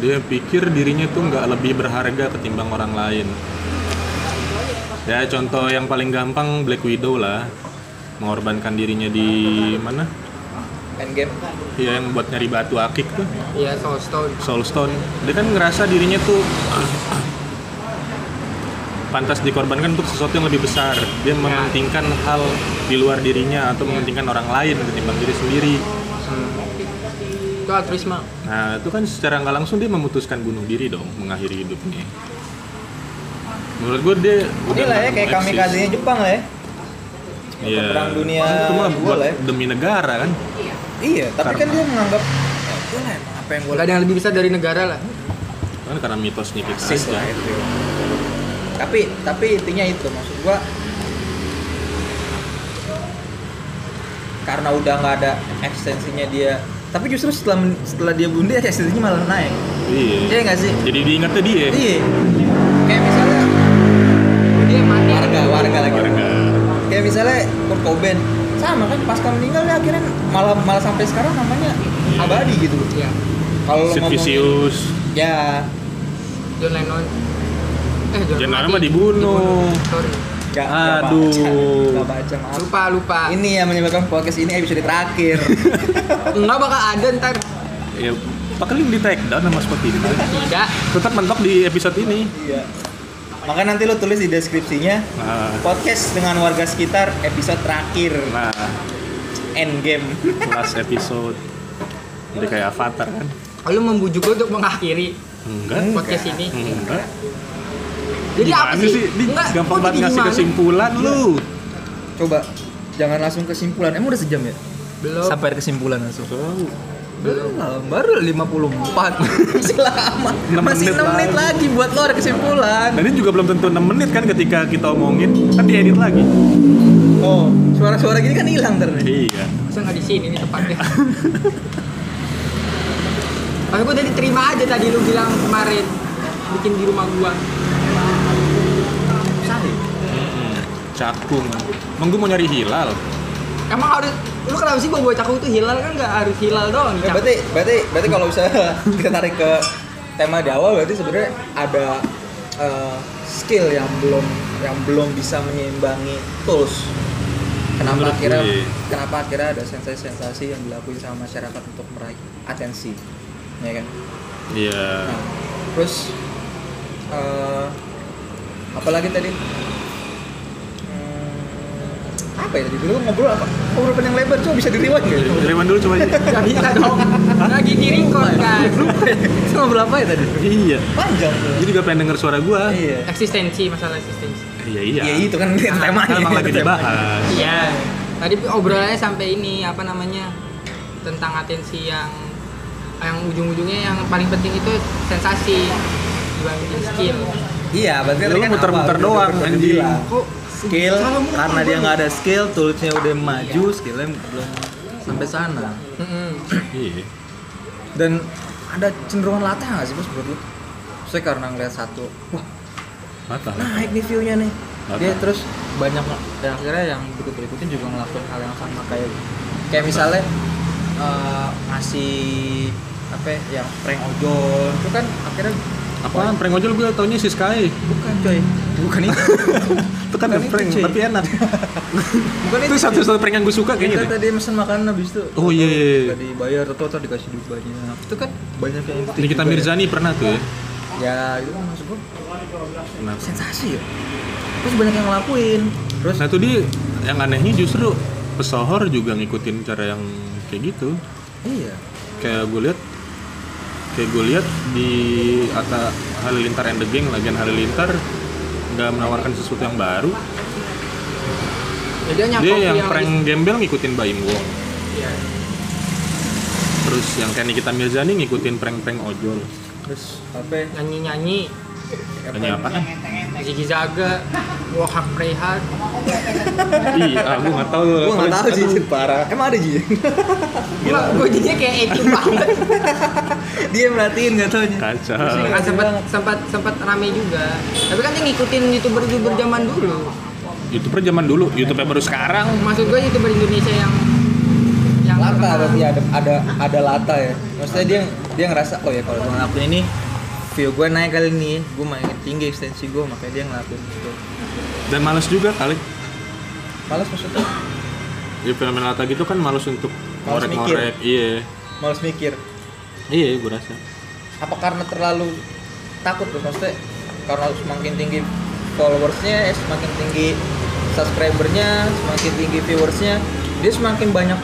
C: dia pikir dirinya tuh nggak lebih berharga ketimbang orang lain ya contoh yang paling gampang Black Widow lah mengorbankan dirinya di mana
B: Endgame.
C: ya yang buat nyari batu akik tuh
A: iya soul stone
C: Soulstone dia kan ngerasa dirinya tuh pantas dikorbankan untuk sesuatu yang lebih besar dia
B: Iya.
C: mementingkan hal di luar dirinya atau mementingkan orang lain ketimbang diri sendiri
A: itu altruisme
C: Nah, itu kan secara nggak langsung dia memutuskan bunuh diri dong, mengakhiri hidupnya. Menurut gue dia
B: Ini lah ya kayak kami kasihnya Jepang lah ya.
C: Iya.
B: Perang dunia
C: Itu mah
B: dua
C: buat
B: lah ya.
C: demi negara kan.
B: Iya, tapi kan
C: Karma.
B: dia menganggap "Ya, gue lah apa yang gue
A: gak ada yang lebih besar dari negara lah
C: Kan karena mitosnya kita
B: Sis
C: aja.
B: lah ya. itu. gitu." Tapi tapi intinya itu maksud gua karena udah nggak ada eksistensinya dia. Tapi justru setelah men- setelah dia bunuh dia eksistensinya malah naik. Iya
C: Iya.
B: nggak sih?
C: Jadi diingatnya dia.
B: Iya. Kayak misalnya
A: dia mati
B: warga warga lagi.
C: Warga.
B: Kayak misalnya Kurt Cobain sama kan pasca meninggal dia akhirnya malah malah sampai sekarang namanya abadi gitu.
A: iya
B: Kalau lo
C: Sid
B: ngomongin
C: Vicious.
B: ya
A: John Lennon eh John,
C: John Lennon
A: mati.
C: mah dibunuh.
A: sorry
B: nggak nggak baca.
C: Aduh.
B: Nggak baca maaf.
A: lupa lupa
B: Ini yang menyebabkan podcast ini episode terakhir.
A: nggak bakal ada ntar
C: Ya, pakeling di take down sama Spotify.
A: tidak
C: Tetap mentok di episode ini.
B: iya. Maka nanti lo tulis di deskripsinya
C: Nah,
B: podcast dengan warga sekitar episode terakhir
C: nah
B: endgame.
C: last episode. Jadi kayak avatar kan?
A: lu membujuk gue untuk mengakhiri
C: Enggak.
A: podcast ini
C: Enggak.
A: jadi
C: Gimana
A: apa sih,
C: Di, gampang banget
A: kok jadi
C: ngasih
A: gimana?
C: kesimpulan lu.
B: Coba jangan langsung kesimpulan. Emang udah sejam ya?
A: belum
B: kesimpulan langsung.
C: Tahu.
A: Iya.
B: Belum, baru *laughs* 54 Selama
C: Enam
B: Masih
C: menit
B: 6 menit lagi buat lo ada kesimpulan
C: Dan ini juga belum tentu 6 menit kan ketika kita omongin Kan diedit lagi
B: Oh, suara-suara gini kan hilang ntar nih
C: Iya
A: Masa nggak di sini nih tempatnya? *laughs* Tapi gue tadi terima aja tadi lu bilang kemarin bikin di rumah gua.
C: Hmm, Cakung Emang gue mau nyari hilal
A: Emang harus lu kenapa sih gua bawa cakung itu hilal kan nggak harus hilal doang
B: Ya,
A: nih.
B: berarti berarti berarti kalau bisa *laughs* kita tarik ke tema di awal berarti sebenarnya ada eh, skill yang belum yang belum bisa menyeimbangi tools. Kenapa
C: Menurut
B: akhirnya
C: gue.
B: kenapa akhirnya ada sensasi-sensasi yang dilakuin sama masyarakat untuk meraih atensi, ya kan?
C: Iya
B: Nah, terus eh apalagi tadi? Hmm, apa apa ya tadi? Dulu ngobrol apa? Ngobrol panjang lebar, coba bisa di-rewind nggak ya? *laughs* Iya
C: Rewind dulu coba aja.
A: Gak bisa dong. Lagi di record kan.
B: Itu ngobrol apa ya tadi?
C: iya.
B: Panjang tuh.
C: Gue juga pengen denger suara gua.
B: Iya.
A: Eksistensi masalah eksistensi.
C: Iya iya.
B: Ya itu kan temanya.
C: Kan emang lagi
B: Temanya.
C: dibahas.
A: *laughs* Iya. Tadi obrolannya sampai ini apa namanya tentang atensi yang yang ujung-ujungnya yang paling penting itu sensasi dibanding skill.
B: Iya, berarti
C: Ya,
B: tadi
C: lu
B: kan
C: muter-muter
B: apa?
C: doang,
B: Muter-muter
C: anjing.
B: bilang.
A: Kok
B: Skill,
A: salah mulu
B: karena dia
A: gua.
B: nggak ada skill, toolsnya udah maju, skillnya belum sampai sana.
A: Mm-mm.
C: Iya.
B: Dan ada cenderungan latah nggak sih bos menurut lu? Saya karena ngeliat satu, wah
C: Mata.
B: naik nih view-nya nih.
C: Latah.
B: Dia terus
D: banyak dan akhirnya yang berikut berikutnya juga ngelakuin hal yang sama kayak
B: kayak misalnya eh, ngasih apa ya, yang prank ojol itu kan akhirnya
C: Apaan? Prank ojol gue taunya si Sky.
B: bukan coy bukan itu *laughs*
C: Itu kan
B: Bukan itu,
C: prank,
B: cuy.
C: tapi enak. Iya,
B: bukan
C: *laughs* itu satu-satu prank yang gue suka
B: Kita
C: kayaknya deh.
B: tadi mesen makanan habis itu.
C: Oh, iya, iya, iya.
B: Tadi bayar atau atau dikasih duit banyak. Itu kan banyak yang itu.
C: Nikita
B: juga
C: Mirzani pernah tuh ya.
B: Ya, ya itu kan maksud gua
C: Kenapa?
B: sensasi ya. Terus banyak yang ngelakuin. Terus
C: Nah itu dia yang anehnya justru pesohor juga ngikutin cara yang kayak gitu.
B: iya.
C: Kayak gue lihat kayak gue lihat di Atta Halilintar and the Gang lagian Halilintar nggak menawarkan sesuatu yang baru.
A: Jadi hanya
C: dia
A: kopi
C: yang prank gembel ngikutin Baim Wong.
A: Iya.
C: Terus yang kayak Nikita Mirzani ngikutin prank-prank ojol.
B: Terus apa? ya,
A: nyanyi-nyanyi,
C: Tanya apa?
A: Ziggy Zaga, Wahak Prehat,
C: Iya, ah, gue nggak tahu.
B: Gua enggak tahu sih Jin, parah. Emang ada Jin.
A: gua gua jadinya kayak
C: *laughs*
A: etim banget
B: *laughs* Dia yang merhatiin enggak taunya.
C: Kacau.
A: kan sempat sempat sempat rame juga tapi kan dia ngikutin youtuber youtuber zaman dulu
C: YouTuber zaman dulu, YouTuber baru sekarang.
A: maksud gua youtuber Indonesia yang yang
B: Lata
A: terkenal.
B: berarti ada ada ada lata ya. Maksudnya dia dia ngerasa oh ya kalau gua ngelakuin ini view gue naik kali ini, gue makin tinggi ekstensi gue makanya dia ngelakuin gitu.
C: Dan males juga kali.
B: Males maksudnya,
C: Ya fenomena Lata gitu kan males untuk
B: Males
C: ngorek-ngorek. Iya.
B: males mikir.
C: Iya, gue rasa.
B: apa karena terlalu takut tuh maksudnya karena semakin tinggi followersnya eh, semakin tinggi subscribernya semakin tinggi viewersnya dia semakin banyak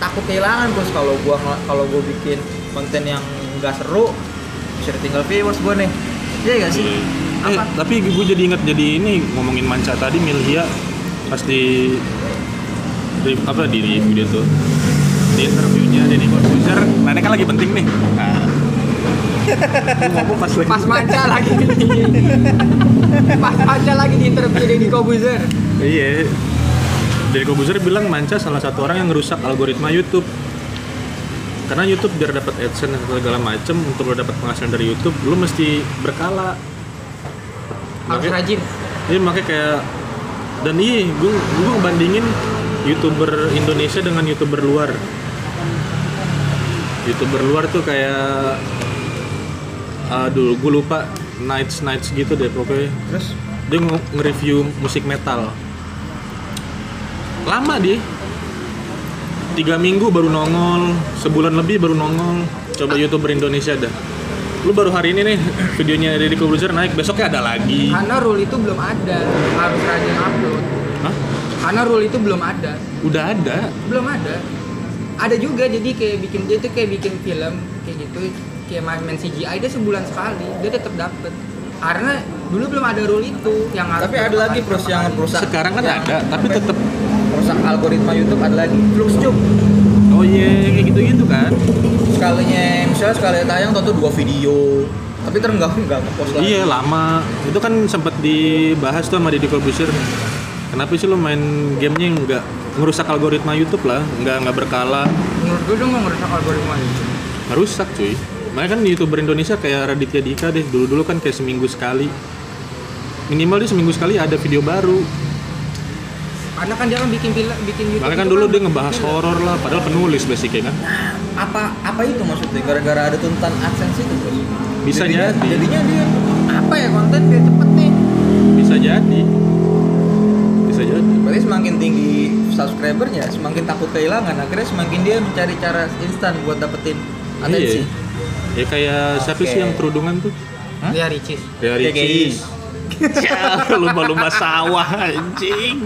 B: takut kehilangan bos kalau gua ngel- kalau gua bikin konten yang nggak seru bisa ditinggal viewers gua nih iya gak sih
C: Iya. Eh,
B: apa
C: tapi gue jadi inget jadi ini ngomongin manca tadi Milhia pas di, di apa di review dia tuh di interviewnya Denny Corbuzier nah ini kan lagi penting nih nah, gua ngomong pas lagi
A: pas manca lagi di pas manca lagi di interview Deddy Kobuzer
C: Iya. Dari Kobuzer bilang Manca salah satu orang yang ngerusak algoritma YouTube. Karena YouTube biar dapat AdSense dan segala macem untuk lo dapat penghasilan dari YouTube, lo mesti berkala.
A: harus
C: Makanya-
A: rajin
C: Iya makanya kayak dan iya gue gue ngebandingin youtuber Indonesia dengan youtuber luar. Youtuber luar tuh kayak aduh gue lupa nights nights gitu deh pokoknya
B: terus
C: dia nge- nge-review musik metal lama dia tiga minggu baru nongol sebulan lebih baru nongol coba youtuber Indonesia dah lu baru hari ini nih *clears throat* videonya dari Kobuzer naik besoknya ada lagi
A: karena rule itu belum ada harus rajin upload
C: Hah?
A: karena rule itu belum ada
C: udah ada
A: belum ada ada juga jadi kayak bikin dia tuh kayak bikin film kayak gitu kayak main, main CGI dia sebulan sekali dia tetap dapet karena dulu belum ada rule itu yang harus
B: tapi ada lagi
A: berapa
B: pros
A: kali,
B: yang
A: berapa
B: perusak
C: sekarang kan
B: yang
C: ada tapi
B: apa ya,
C: tetap
B: perusak algoritma YouTube ada lagi Fluxjub
C: oh iya kayak gitu gitu kan
B: sekalinya misalnya sekali tayang tentu dua video tapi terus nggak nggak ngepost lagi
C: iya lama itu kan sempet dibahas tuh sama Deddy Corbuzier kenapa sih lu main gamenya yang nggak ngerusak algoritma YouTube lah nggak nggak berkala
A: kali. menurut gue dong mau ngerusak algoritma itu
C: rusak cuy makanya kan youtuber Indonesia kayak Raditya Dika deh dulu dulu kan kayak seminggu sekali minimal dia seminggu sekali ada video baru
A: karena kan dia kan bikin film bikin YouTube gitu
C: makanya kan
A: itu
C: dulu dia ngebahas horor lah padahal penulis basicnya kan
B: apa apa itu maksudnya gara-gara ada tuntutan adsense itu bos
C: Bisa
B: jadinya,
C: jadi.
B: jadinya dia apa ya konten biar cepet nih
C: bisa jadi bisa jadi
B: berarti semakin tinggi subscribernya semakin takut kehilangan akhirnya semakin dia mencari cara instan buat dapetin atensi
C: Iya. ya kayak siapa
B: Oke.
C: sih yang kerudungan tuh
A: Dia Iya, ricis
C: Ria
B: GGI.
C: Ricis Ya, *laughs* lumba-lumba sawah anjing.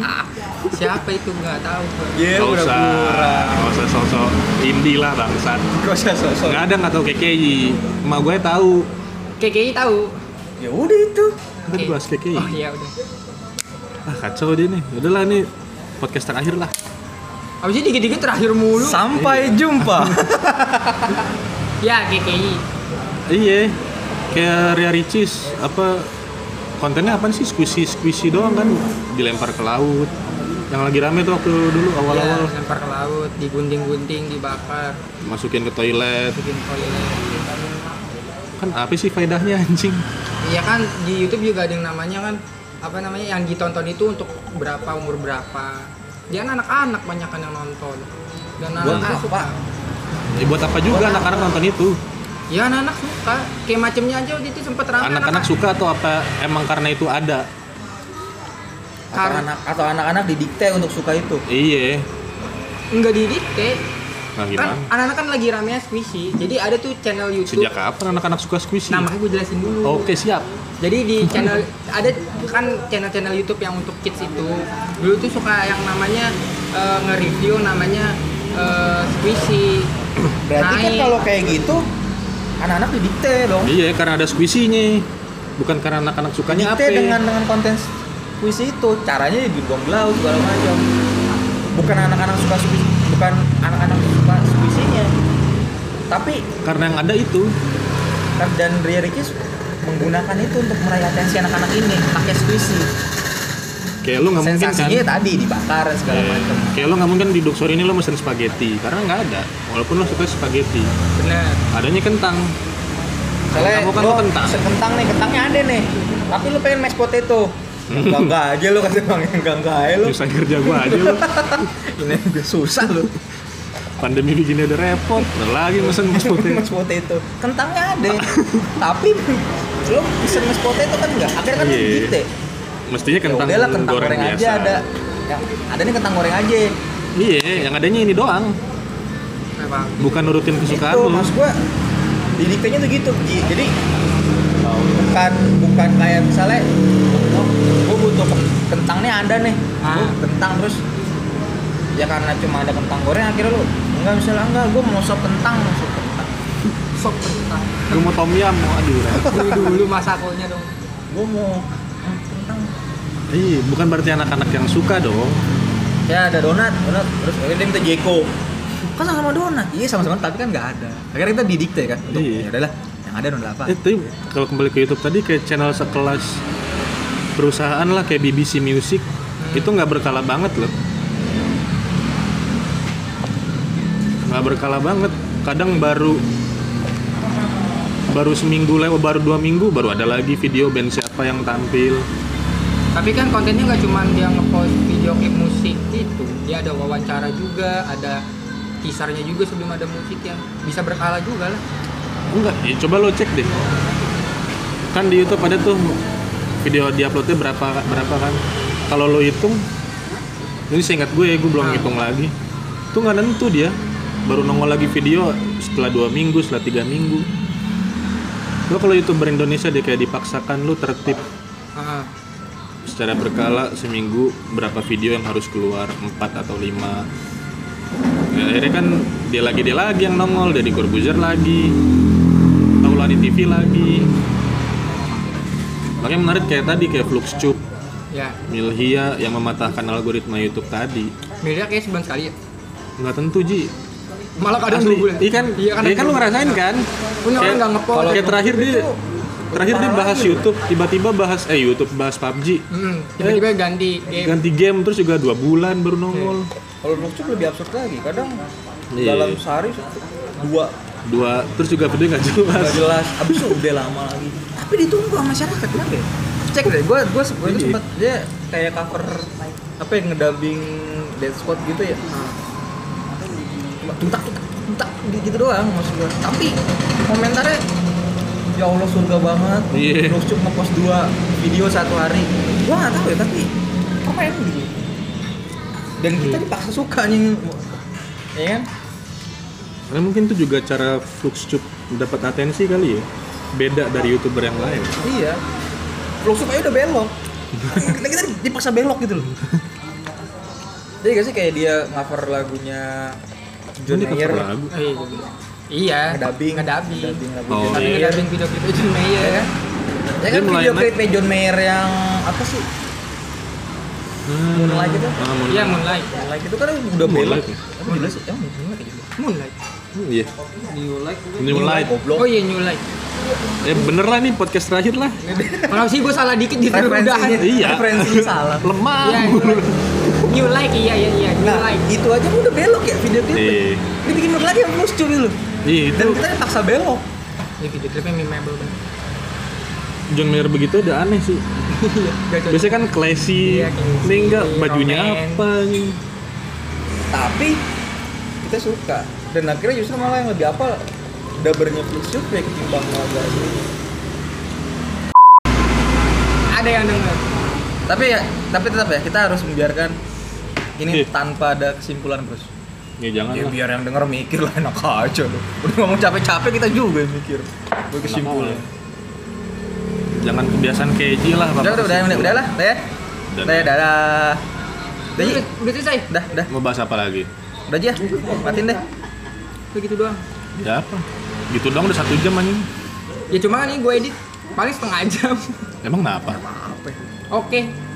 A: Siapa itu nggak tahu. gua.
B: Iya,
C: Gak
B: udah
C: usah,
B: pura.
C: gak usah sosok indie lah bangsat.
A: Oh.
B: Gak usah sosok.
C: Gak ada nggak tahu KKI. Emak gue tahu.
A: KKI tahu.
B: Ya udah itu.
C: Kan gue harus KKI.
A: Oh iya udah.
C: Ah kacau dia nih. Udahlah nih podcast terakhir lah.
A: Abis itu dikit-dikit terakhir mulu.
B: Sampai jumpa.
A: Ya KKI.
C: Iya. Kayak Ria Ricis apa kontennya apa sih squishy squishy doang kan dilempar ke laut. Yang lagi rame tuh waktu dulu
A: Ya,
C: awal-awal
A: lempar ke laut, digunting-gunting, dibakar,
C: masukin ke toilet.
A: bikin toilet.
C: Kan apa sih faedahnya anjing?
A: Iya kan di YouTube juga ada yang namanya kan apa namanya yang ditonton itu untuk berapa umur berapa. Dia kan anak-anak banyak kan yang nonton. Dan anak-anak
B: apa?
A: suka.
C: Ya buat apa juga anak-anak nonton itu?
A: Ya anak-anak suka. Kayak macemnya aja waktu itu sempet ramai.
C: Anak-anak suka atau apa emang karena itu ada?
B: atau anak atau anak-anak didikte untuk suka itu.
C: Iya.
A: Enggak didikte.
C: Nah
A: Kan
C: gimana?
A: anak-anak kan lagi ramenya squishy. Jadi ada tuh channel YouTube.
C: Sejak kapan anak-anak suka squishy?
A: Nah, makanya gue jelasin dulu.
C: Oke siap.
A: Jadi di channel ada kan channel-channel YouTube yang untuk kids itu dulu tuh suka yang namanya eh, nge-review namanya eh, squishy.
B: Berarti kan
A: Naik.
B: kalau kayak gitu anak-anak didikte dong.
C: Iya karena ada squishy-nya. Bukan karena anak-anak sukanya apa.
B: Didikte dengan dengan konten puisi itu caranya ya dibuang laut segala macam. Bukan anak-anak suka puisi, bukan anak-anak suka puisinya. Tapi
C: Karena yang ada itu.
B: dan Ria Ricis menggunakan itu untuk meraih atensi anak-anak ini pakai puisi.
C: Kayak lu nggak mungkin kan.
B: Sensasinya ya tadi dibakar segala
C: Eh,
B: macam.
C: Kayak lu nggak mungkin di Duxor ini lu mesen spaghetti karena nggak ada. Walaupun lu suka spaghetti,
A: Benar.
C: adanya kentang.
B: Soalnya
C: Kamu kan
B: lo
C: lu kentang.
B: se- kentang nih, kentangnya ada nih. Tapi lu pengen mashed
C: *laughs*
B: potato. Enggak enggak aja lu kata Bang, enggak enggak aja lu.
C: Nyusahin kerja gua aja lu.
B: *laughs* Ini juga susah lu.
C: Pandemi begini udah repot. Udah lagi mesen
B: *laughs*
C: mashed potato.
B: mashed potato. Kentangnya
C: *laughs*
B: ada. Tapi lu pesen mashed potato kan enggak. Akhirnya kan lu
C: Iya.
B: gitu. ya.
C: Mestinya
B: Ya
C: kentang,
B: udahlah kentang
C: goreng,
B: goreng,
C: biasa.
B: aja ada. Yang ada nih kentang goreng aja.
C: Iya, yang adanya ini doang.
A: Memang.
C: Bukan nurutin kesukaan
B: itu
C: lu.
B: Gitu. maksud gua didikanya tuh gitu Ji. jadi bukan bukan kayak misalnya oh, gua butuh ken- kentangnya ada nih gua
A: Ah.
B: kentang terus ya karena cuma ada kentang goreng akhirnya lu enggak misalnya enggak gua mau sop kentang mau sop kentang
A: Sok kentang.
C: Gua mau tom yum, mau aduh. repot.
A: Dulu dulu masakonya dong.
B: gua mau hmm, kentang
C: Iya, bukan berarti anak-anak yang suka dong.
B: ya ada donat donat terus akhirnya dia minta jeko kan sama-sama donat iya sama-sama tapi kan nggak ada akhirnya kita didikte kan untuk
C: Iya.
B: ya udahlah yang ada donat apa
C: Eh, tapi kalau kembali ke YouTube tadi kayak channel sekelas perusahaan lah kayak BBC Music itu nggak berkala banget loh. Nggak berkala banget. Kadang baru baru seminggu lewat baru dua minggu baru ada lagi video band siapa yang tampil
A: Tapi kan kontennya nggak cuma dia ngepost video klip musik itu, dia ada wawancara juga, ada teasernya juga sebelum ada musik yang bisa berkala juga lah.
C: enggak ya coba lo cek deh kan di YouTube ada tuh video diuploadnya berapa berapa kan kalau lo hitung ini seingat gue gue belum hitung lagi tuh nggak nentu dia baru nongol lagi video setelah dua minggu setelah tiga minggu lo kalau youtuber Indonesia dia kayak dipaksakan lo tertib
A: Ah,
C: secara berkala seminggu berapa video yang harus keluar empat atau lima Ya, akhirnya kan dia lagi dia lagi yang nongol dari Corbuzier lagi Taulani TV lagi makanya menarik kayak tadi kayak Fluxcube
A: ya.
C: Milhia yang mematahkan algoritma YouTube tadi
A: Media kayak sebulan sekali ya.
C: nggak tentu Ji
A: Malah kadang
C: Asli.
A: dua bulan.
C: Iya kan,
A: Iya kan,
C: iya kan lu ngerasain kan?
A: Punya orang nggak ngepost. gitu.
C: Kalau kayak terakhir dia terakhir dia bahas YouTube, tiba-tiba bahas eh YouTube bahas PUBG.
A: Hmm, tiba-tiba ganti game.
C: Ganti game terus juga dua bulan baru nongol.
B: Kalau Blokcup lebih absurd lagi, kadang
C: Iya.
B: dalam sehari dua
C: Dua terus juga video nggak jelas.
B: nggak jelas, abis itu udah lama lagi. Tapi ditunggu sama masyarakat kenapa ya? Cek deh, gue gue gue
C: Iya.
B: sempat dia kayak cover apa ya ngedubbing Dead Squad gitu ya. Cuma tuntak tuntak tuntak di- gitu doang maksud gue. Tapi komentarnya ya Allah surga banget.
C: Iya.
B: Blokcup ngepost dua video satu hari. Gue nggak tahu ya tapi keren gitu. Dan kita dipaksa suka nih, ya kan?
C: Karena mungkin itu juga cara Fluxcube dapat atensi kali ya. Beda dari YouTuber yang lain.
B: Iya. Vlogshop aja udah
C: *laughs*
B: belok. Nah, kita dipaksa belok gitu loh. Jadi gak sih kayak dia cover lagunya John
C: Ini cover
B: Mayer Eh,
C: lagu.
A: Eh, iya. Iya.
B: ngedabing
A: Ngedabing.
B: Ngedabing lagu
C: Oh,
B: John
A: Tapi
B: Mayer.
A: ngedabing video klipnya John Mayer
B: Ya kan? Ya
C: Dia
B: kan
C: mulai
B: video
C: naik.
B: klipnya John Mayer yang apa sih?
C: Hmm.
B: Moonlight itu?
C: Ah, Moonlight.
A: Iya, Moonlight.
B: Like itu kan udah belok.
C: Moonlight ya?
B: Apa jelas sih? Emang Moonlight ya?
A: Moonlight.
C: Hmm, Iya.
D: New like gue.
C: New Light.
B: Goblok.
C: *laughs*
A: Oh iya, New Light.
C: Ya bener lah nih podcast terakhir lah.
A: Kalau sih gue salah dikit gitu
B: Referensinya,
A: udah.
C: Iya.
B: referensinya salah.
C: Lemah.
A: Iya, New Light. New Light, iya, iya, iya. New
B: Nah,
A: Light.
B: itu aja udah belok ya video klipnya.
C: Iya.
B: Dibikin belok lagi yang lucu gitu loh.
C: Iya, itu
B: Dan kita dipaksa belok.
A: Ini video klipnya memorable banget.
C: John Mayer begitu udah aneh sih.
A: Gak cocok.
C: Biasanya kan classy.
A: Iya, classy,
C: Ini enggak bajunya
A: roman.
C: apa nih?
B: tapi kita suka dan akhirnya justru malah yang lebih apa dabernya Flick Shoot ya ketimbang lagu asli
A: Ada yang denger.
B: tapi ya tapi tetap ya kita harus membiarkan ini
C: Iya.
B: tanpa ada kesimpulan bros
C: Ya jangan
B: ya
C: lah.
B: biar yang denger mikir lah enak aja loh udah ngomong capek-capek kita juga yang mikir gue
C: ya.
B: kesimpulan
C: Jangan kebiasaan keji lah.
B: udah udah udah udah udah lah udah ya
C: Udah.
B: udah ya udah dah udah Ji.
A: Udah, udah selesai.
B: udah udah
C: Mau bahas apa lagi?
B: udah aja matiin deh
A: Begitu doang.
C: Ya apa? Gitu dong udah satu jam anjing.
A: Ya cuma kan ini gue edit paling setengah jam. *laughs*
C: Emang kenapa?
A: Oke,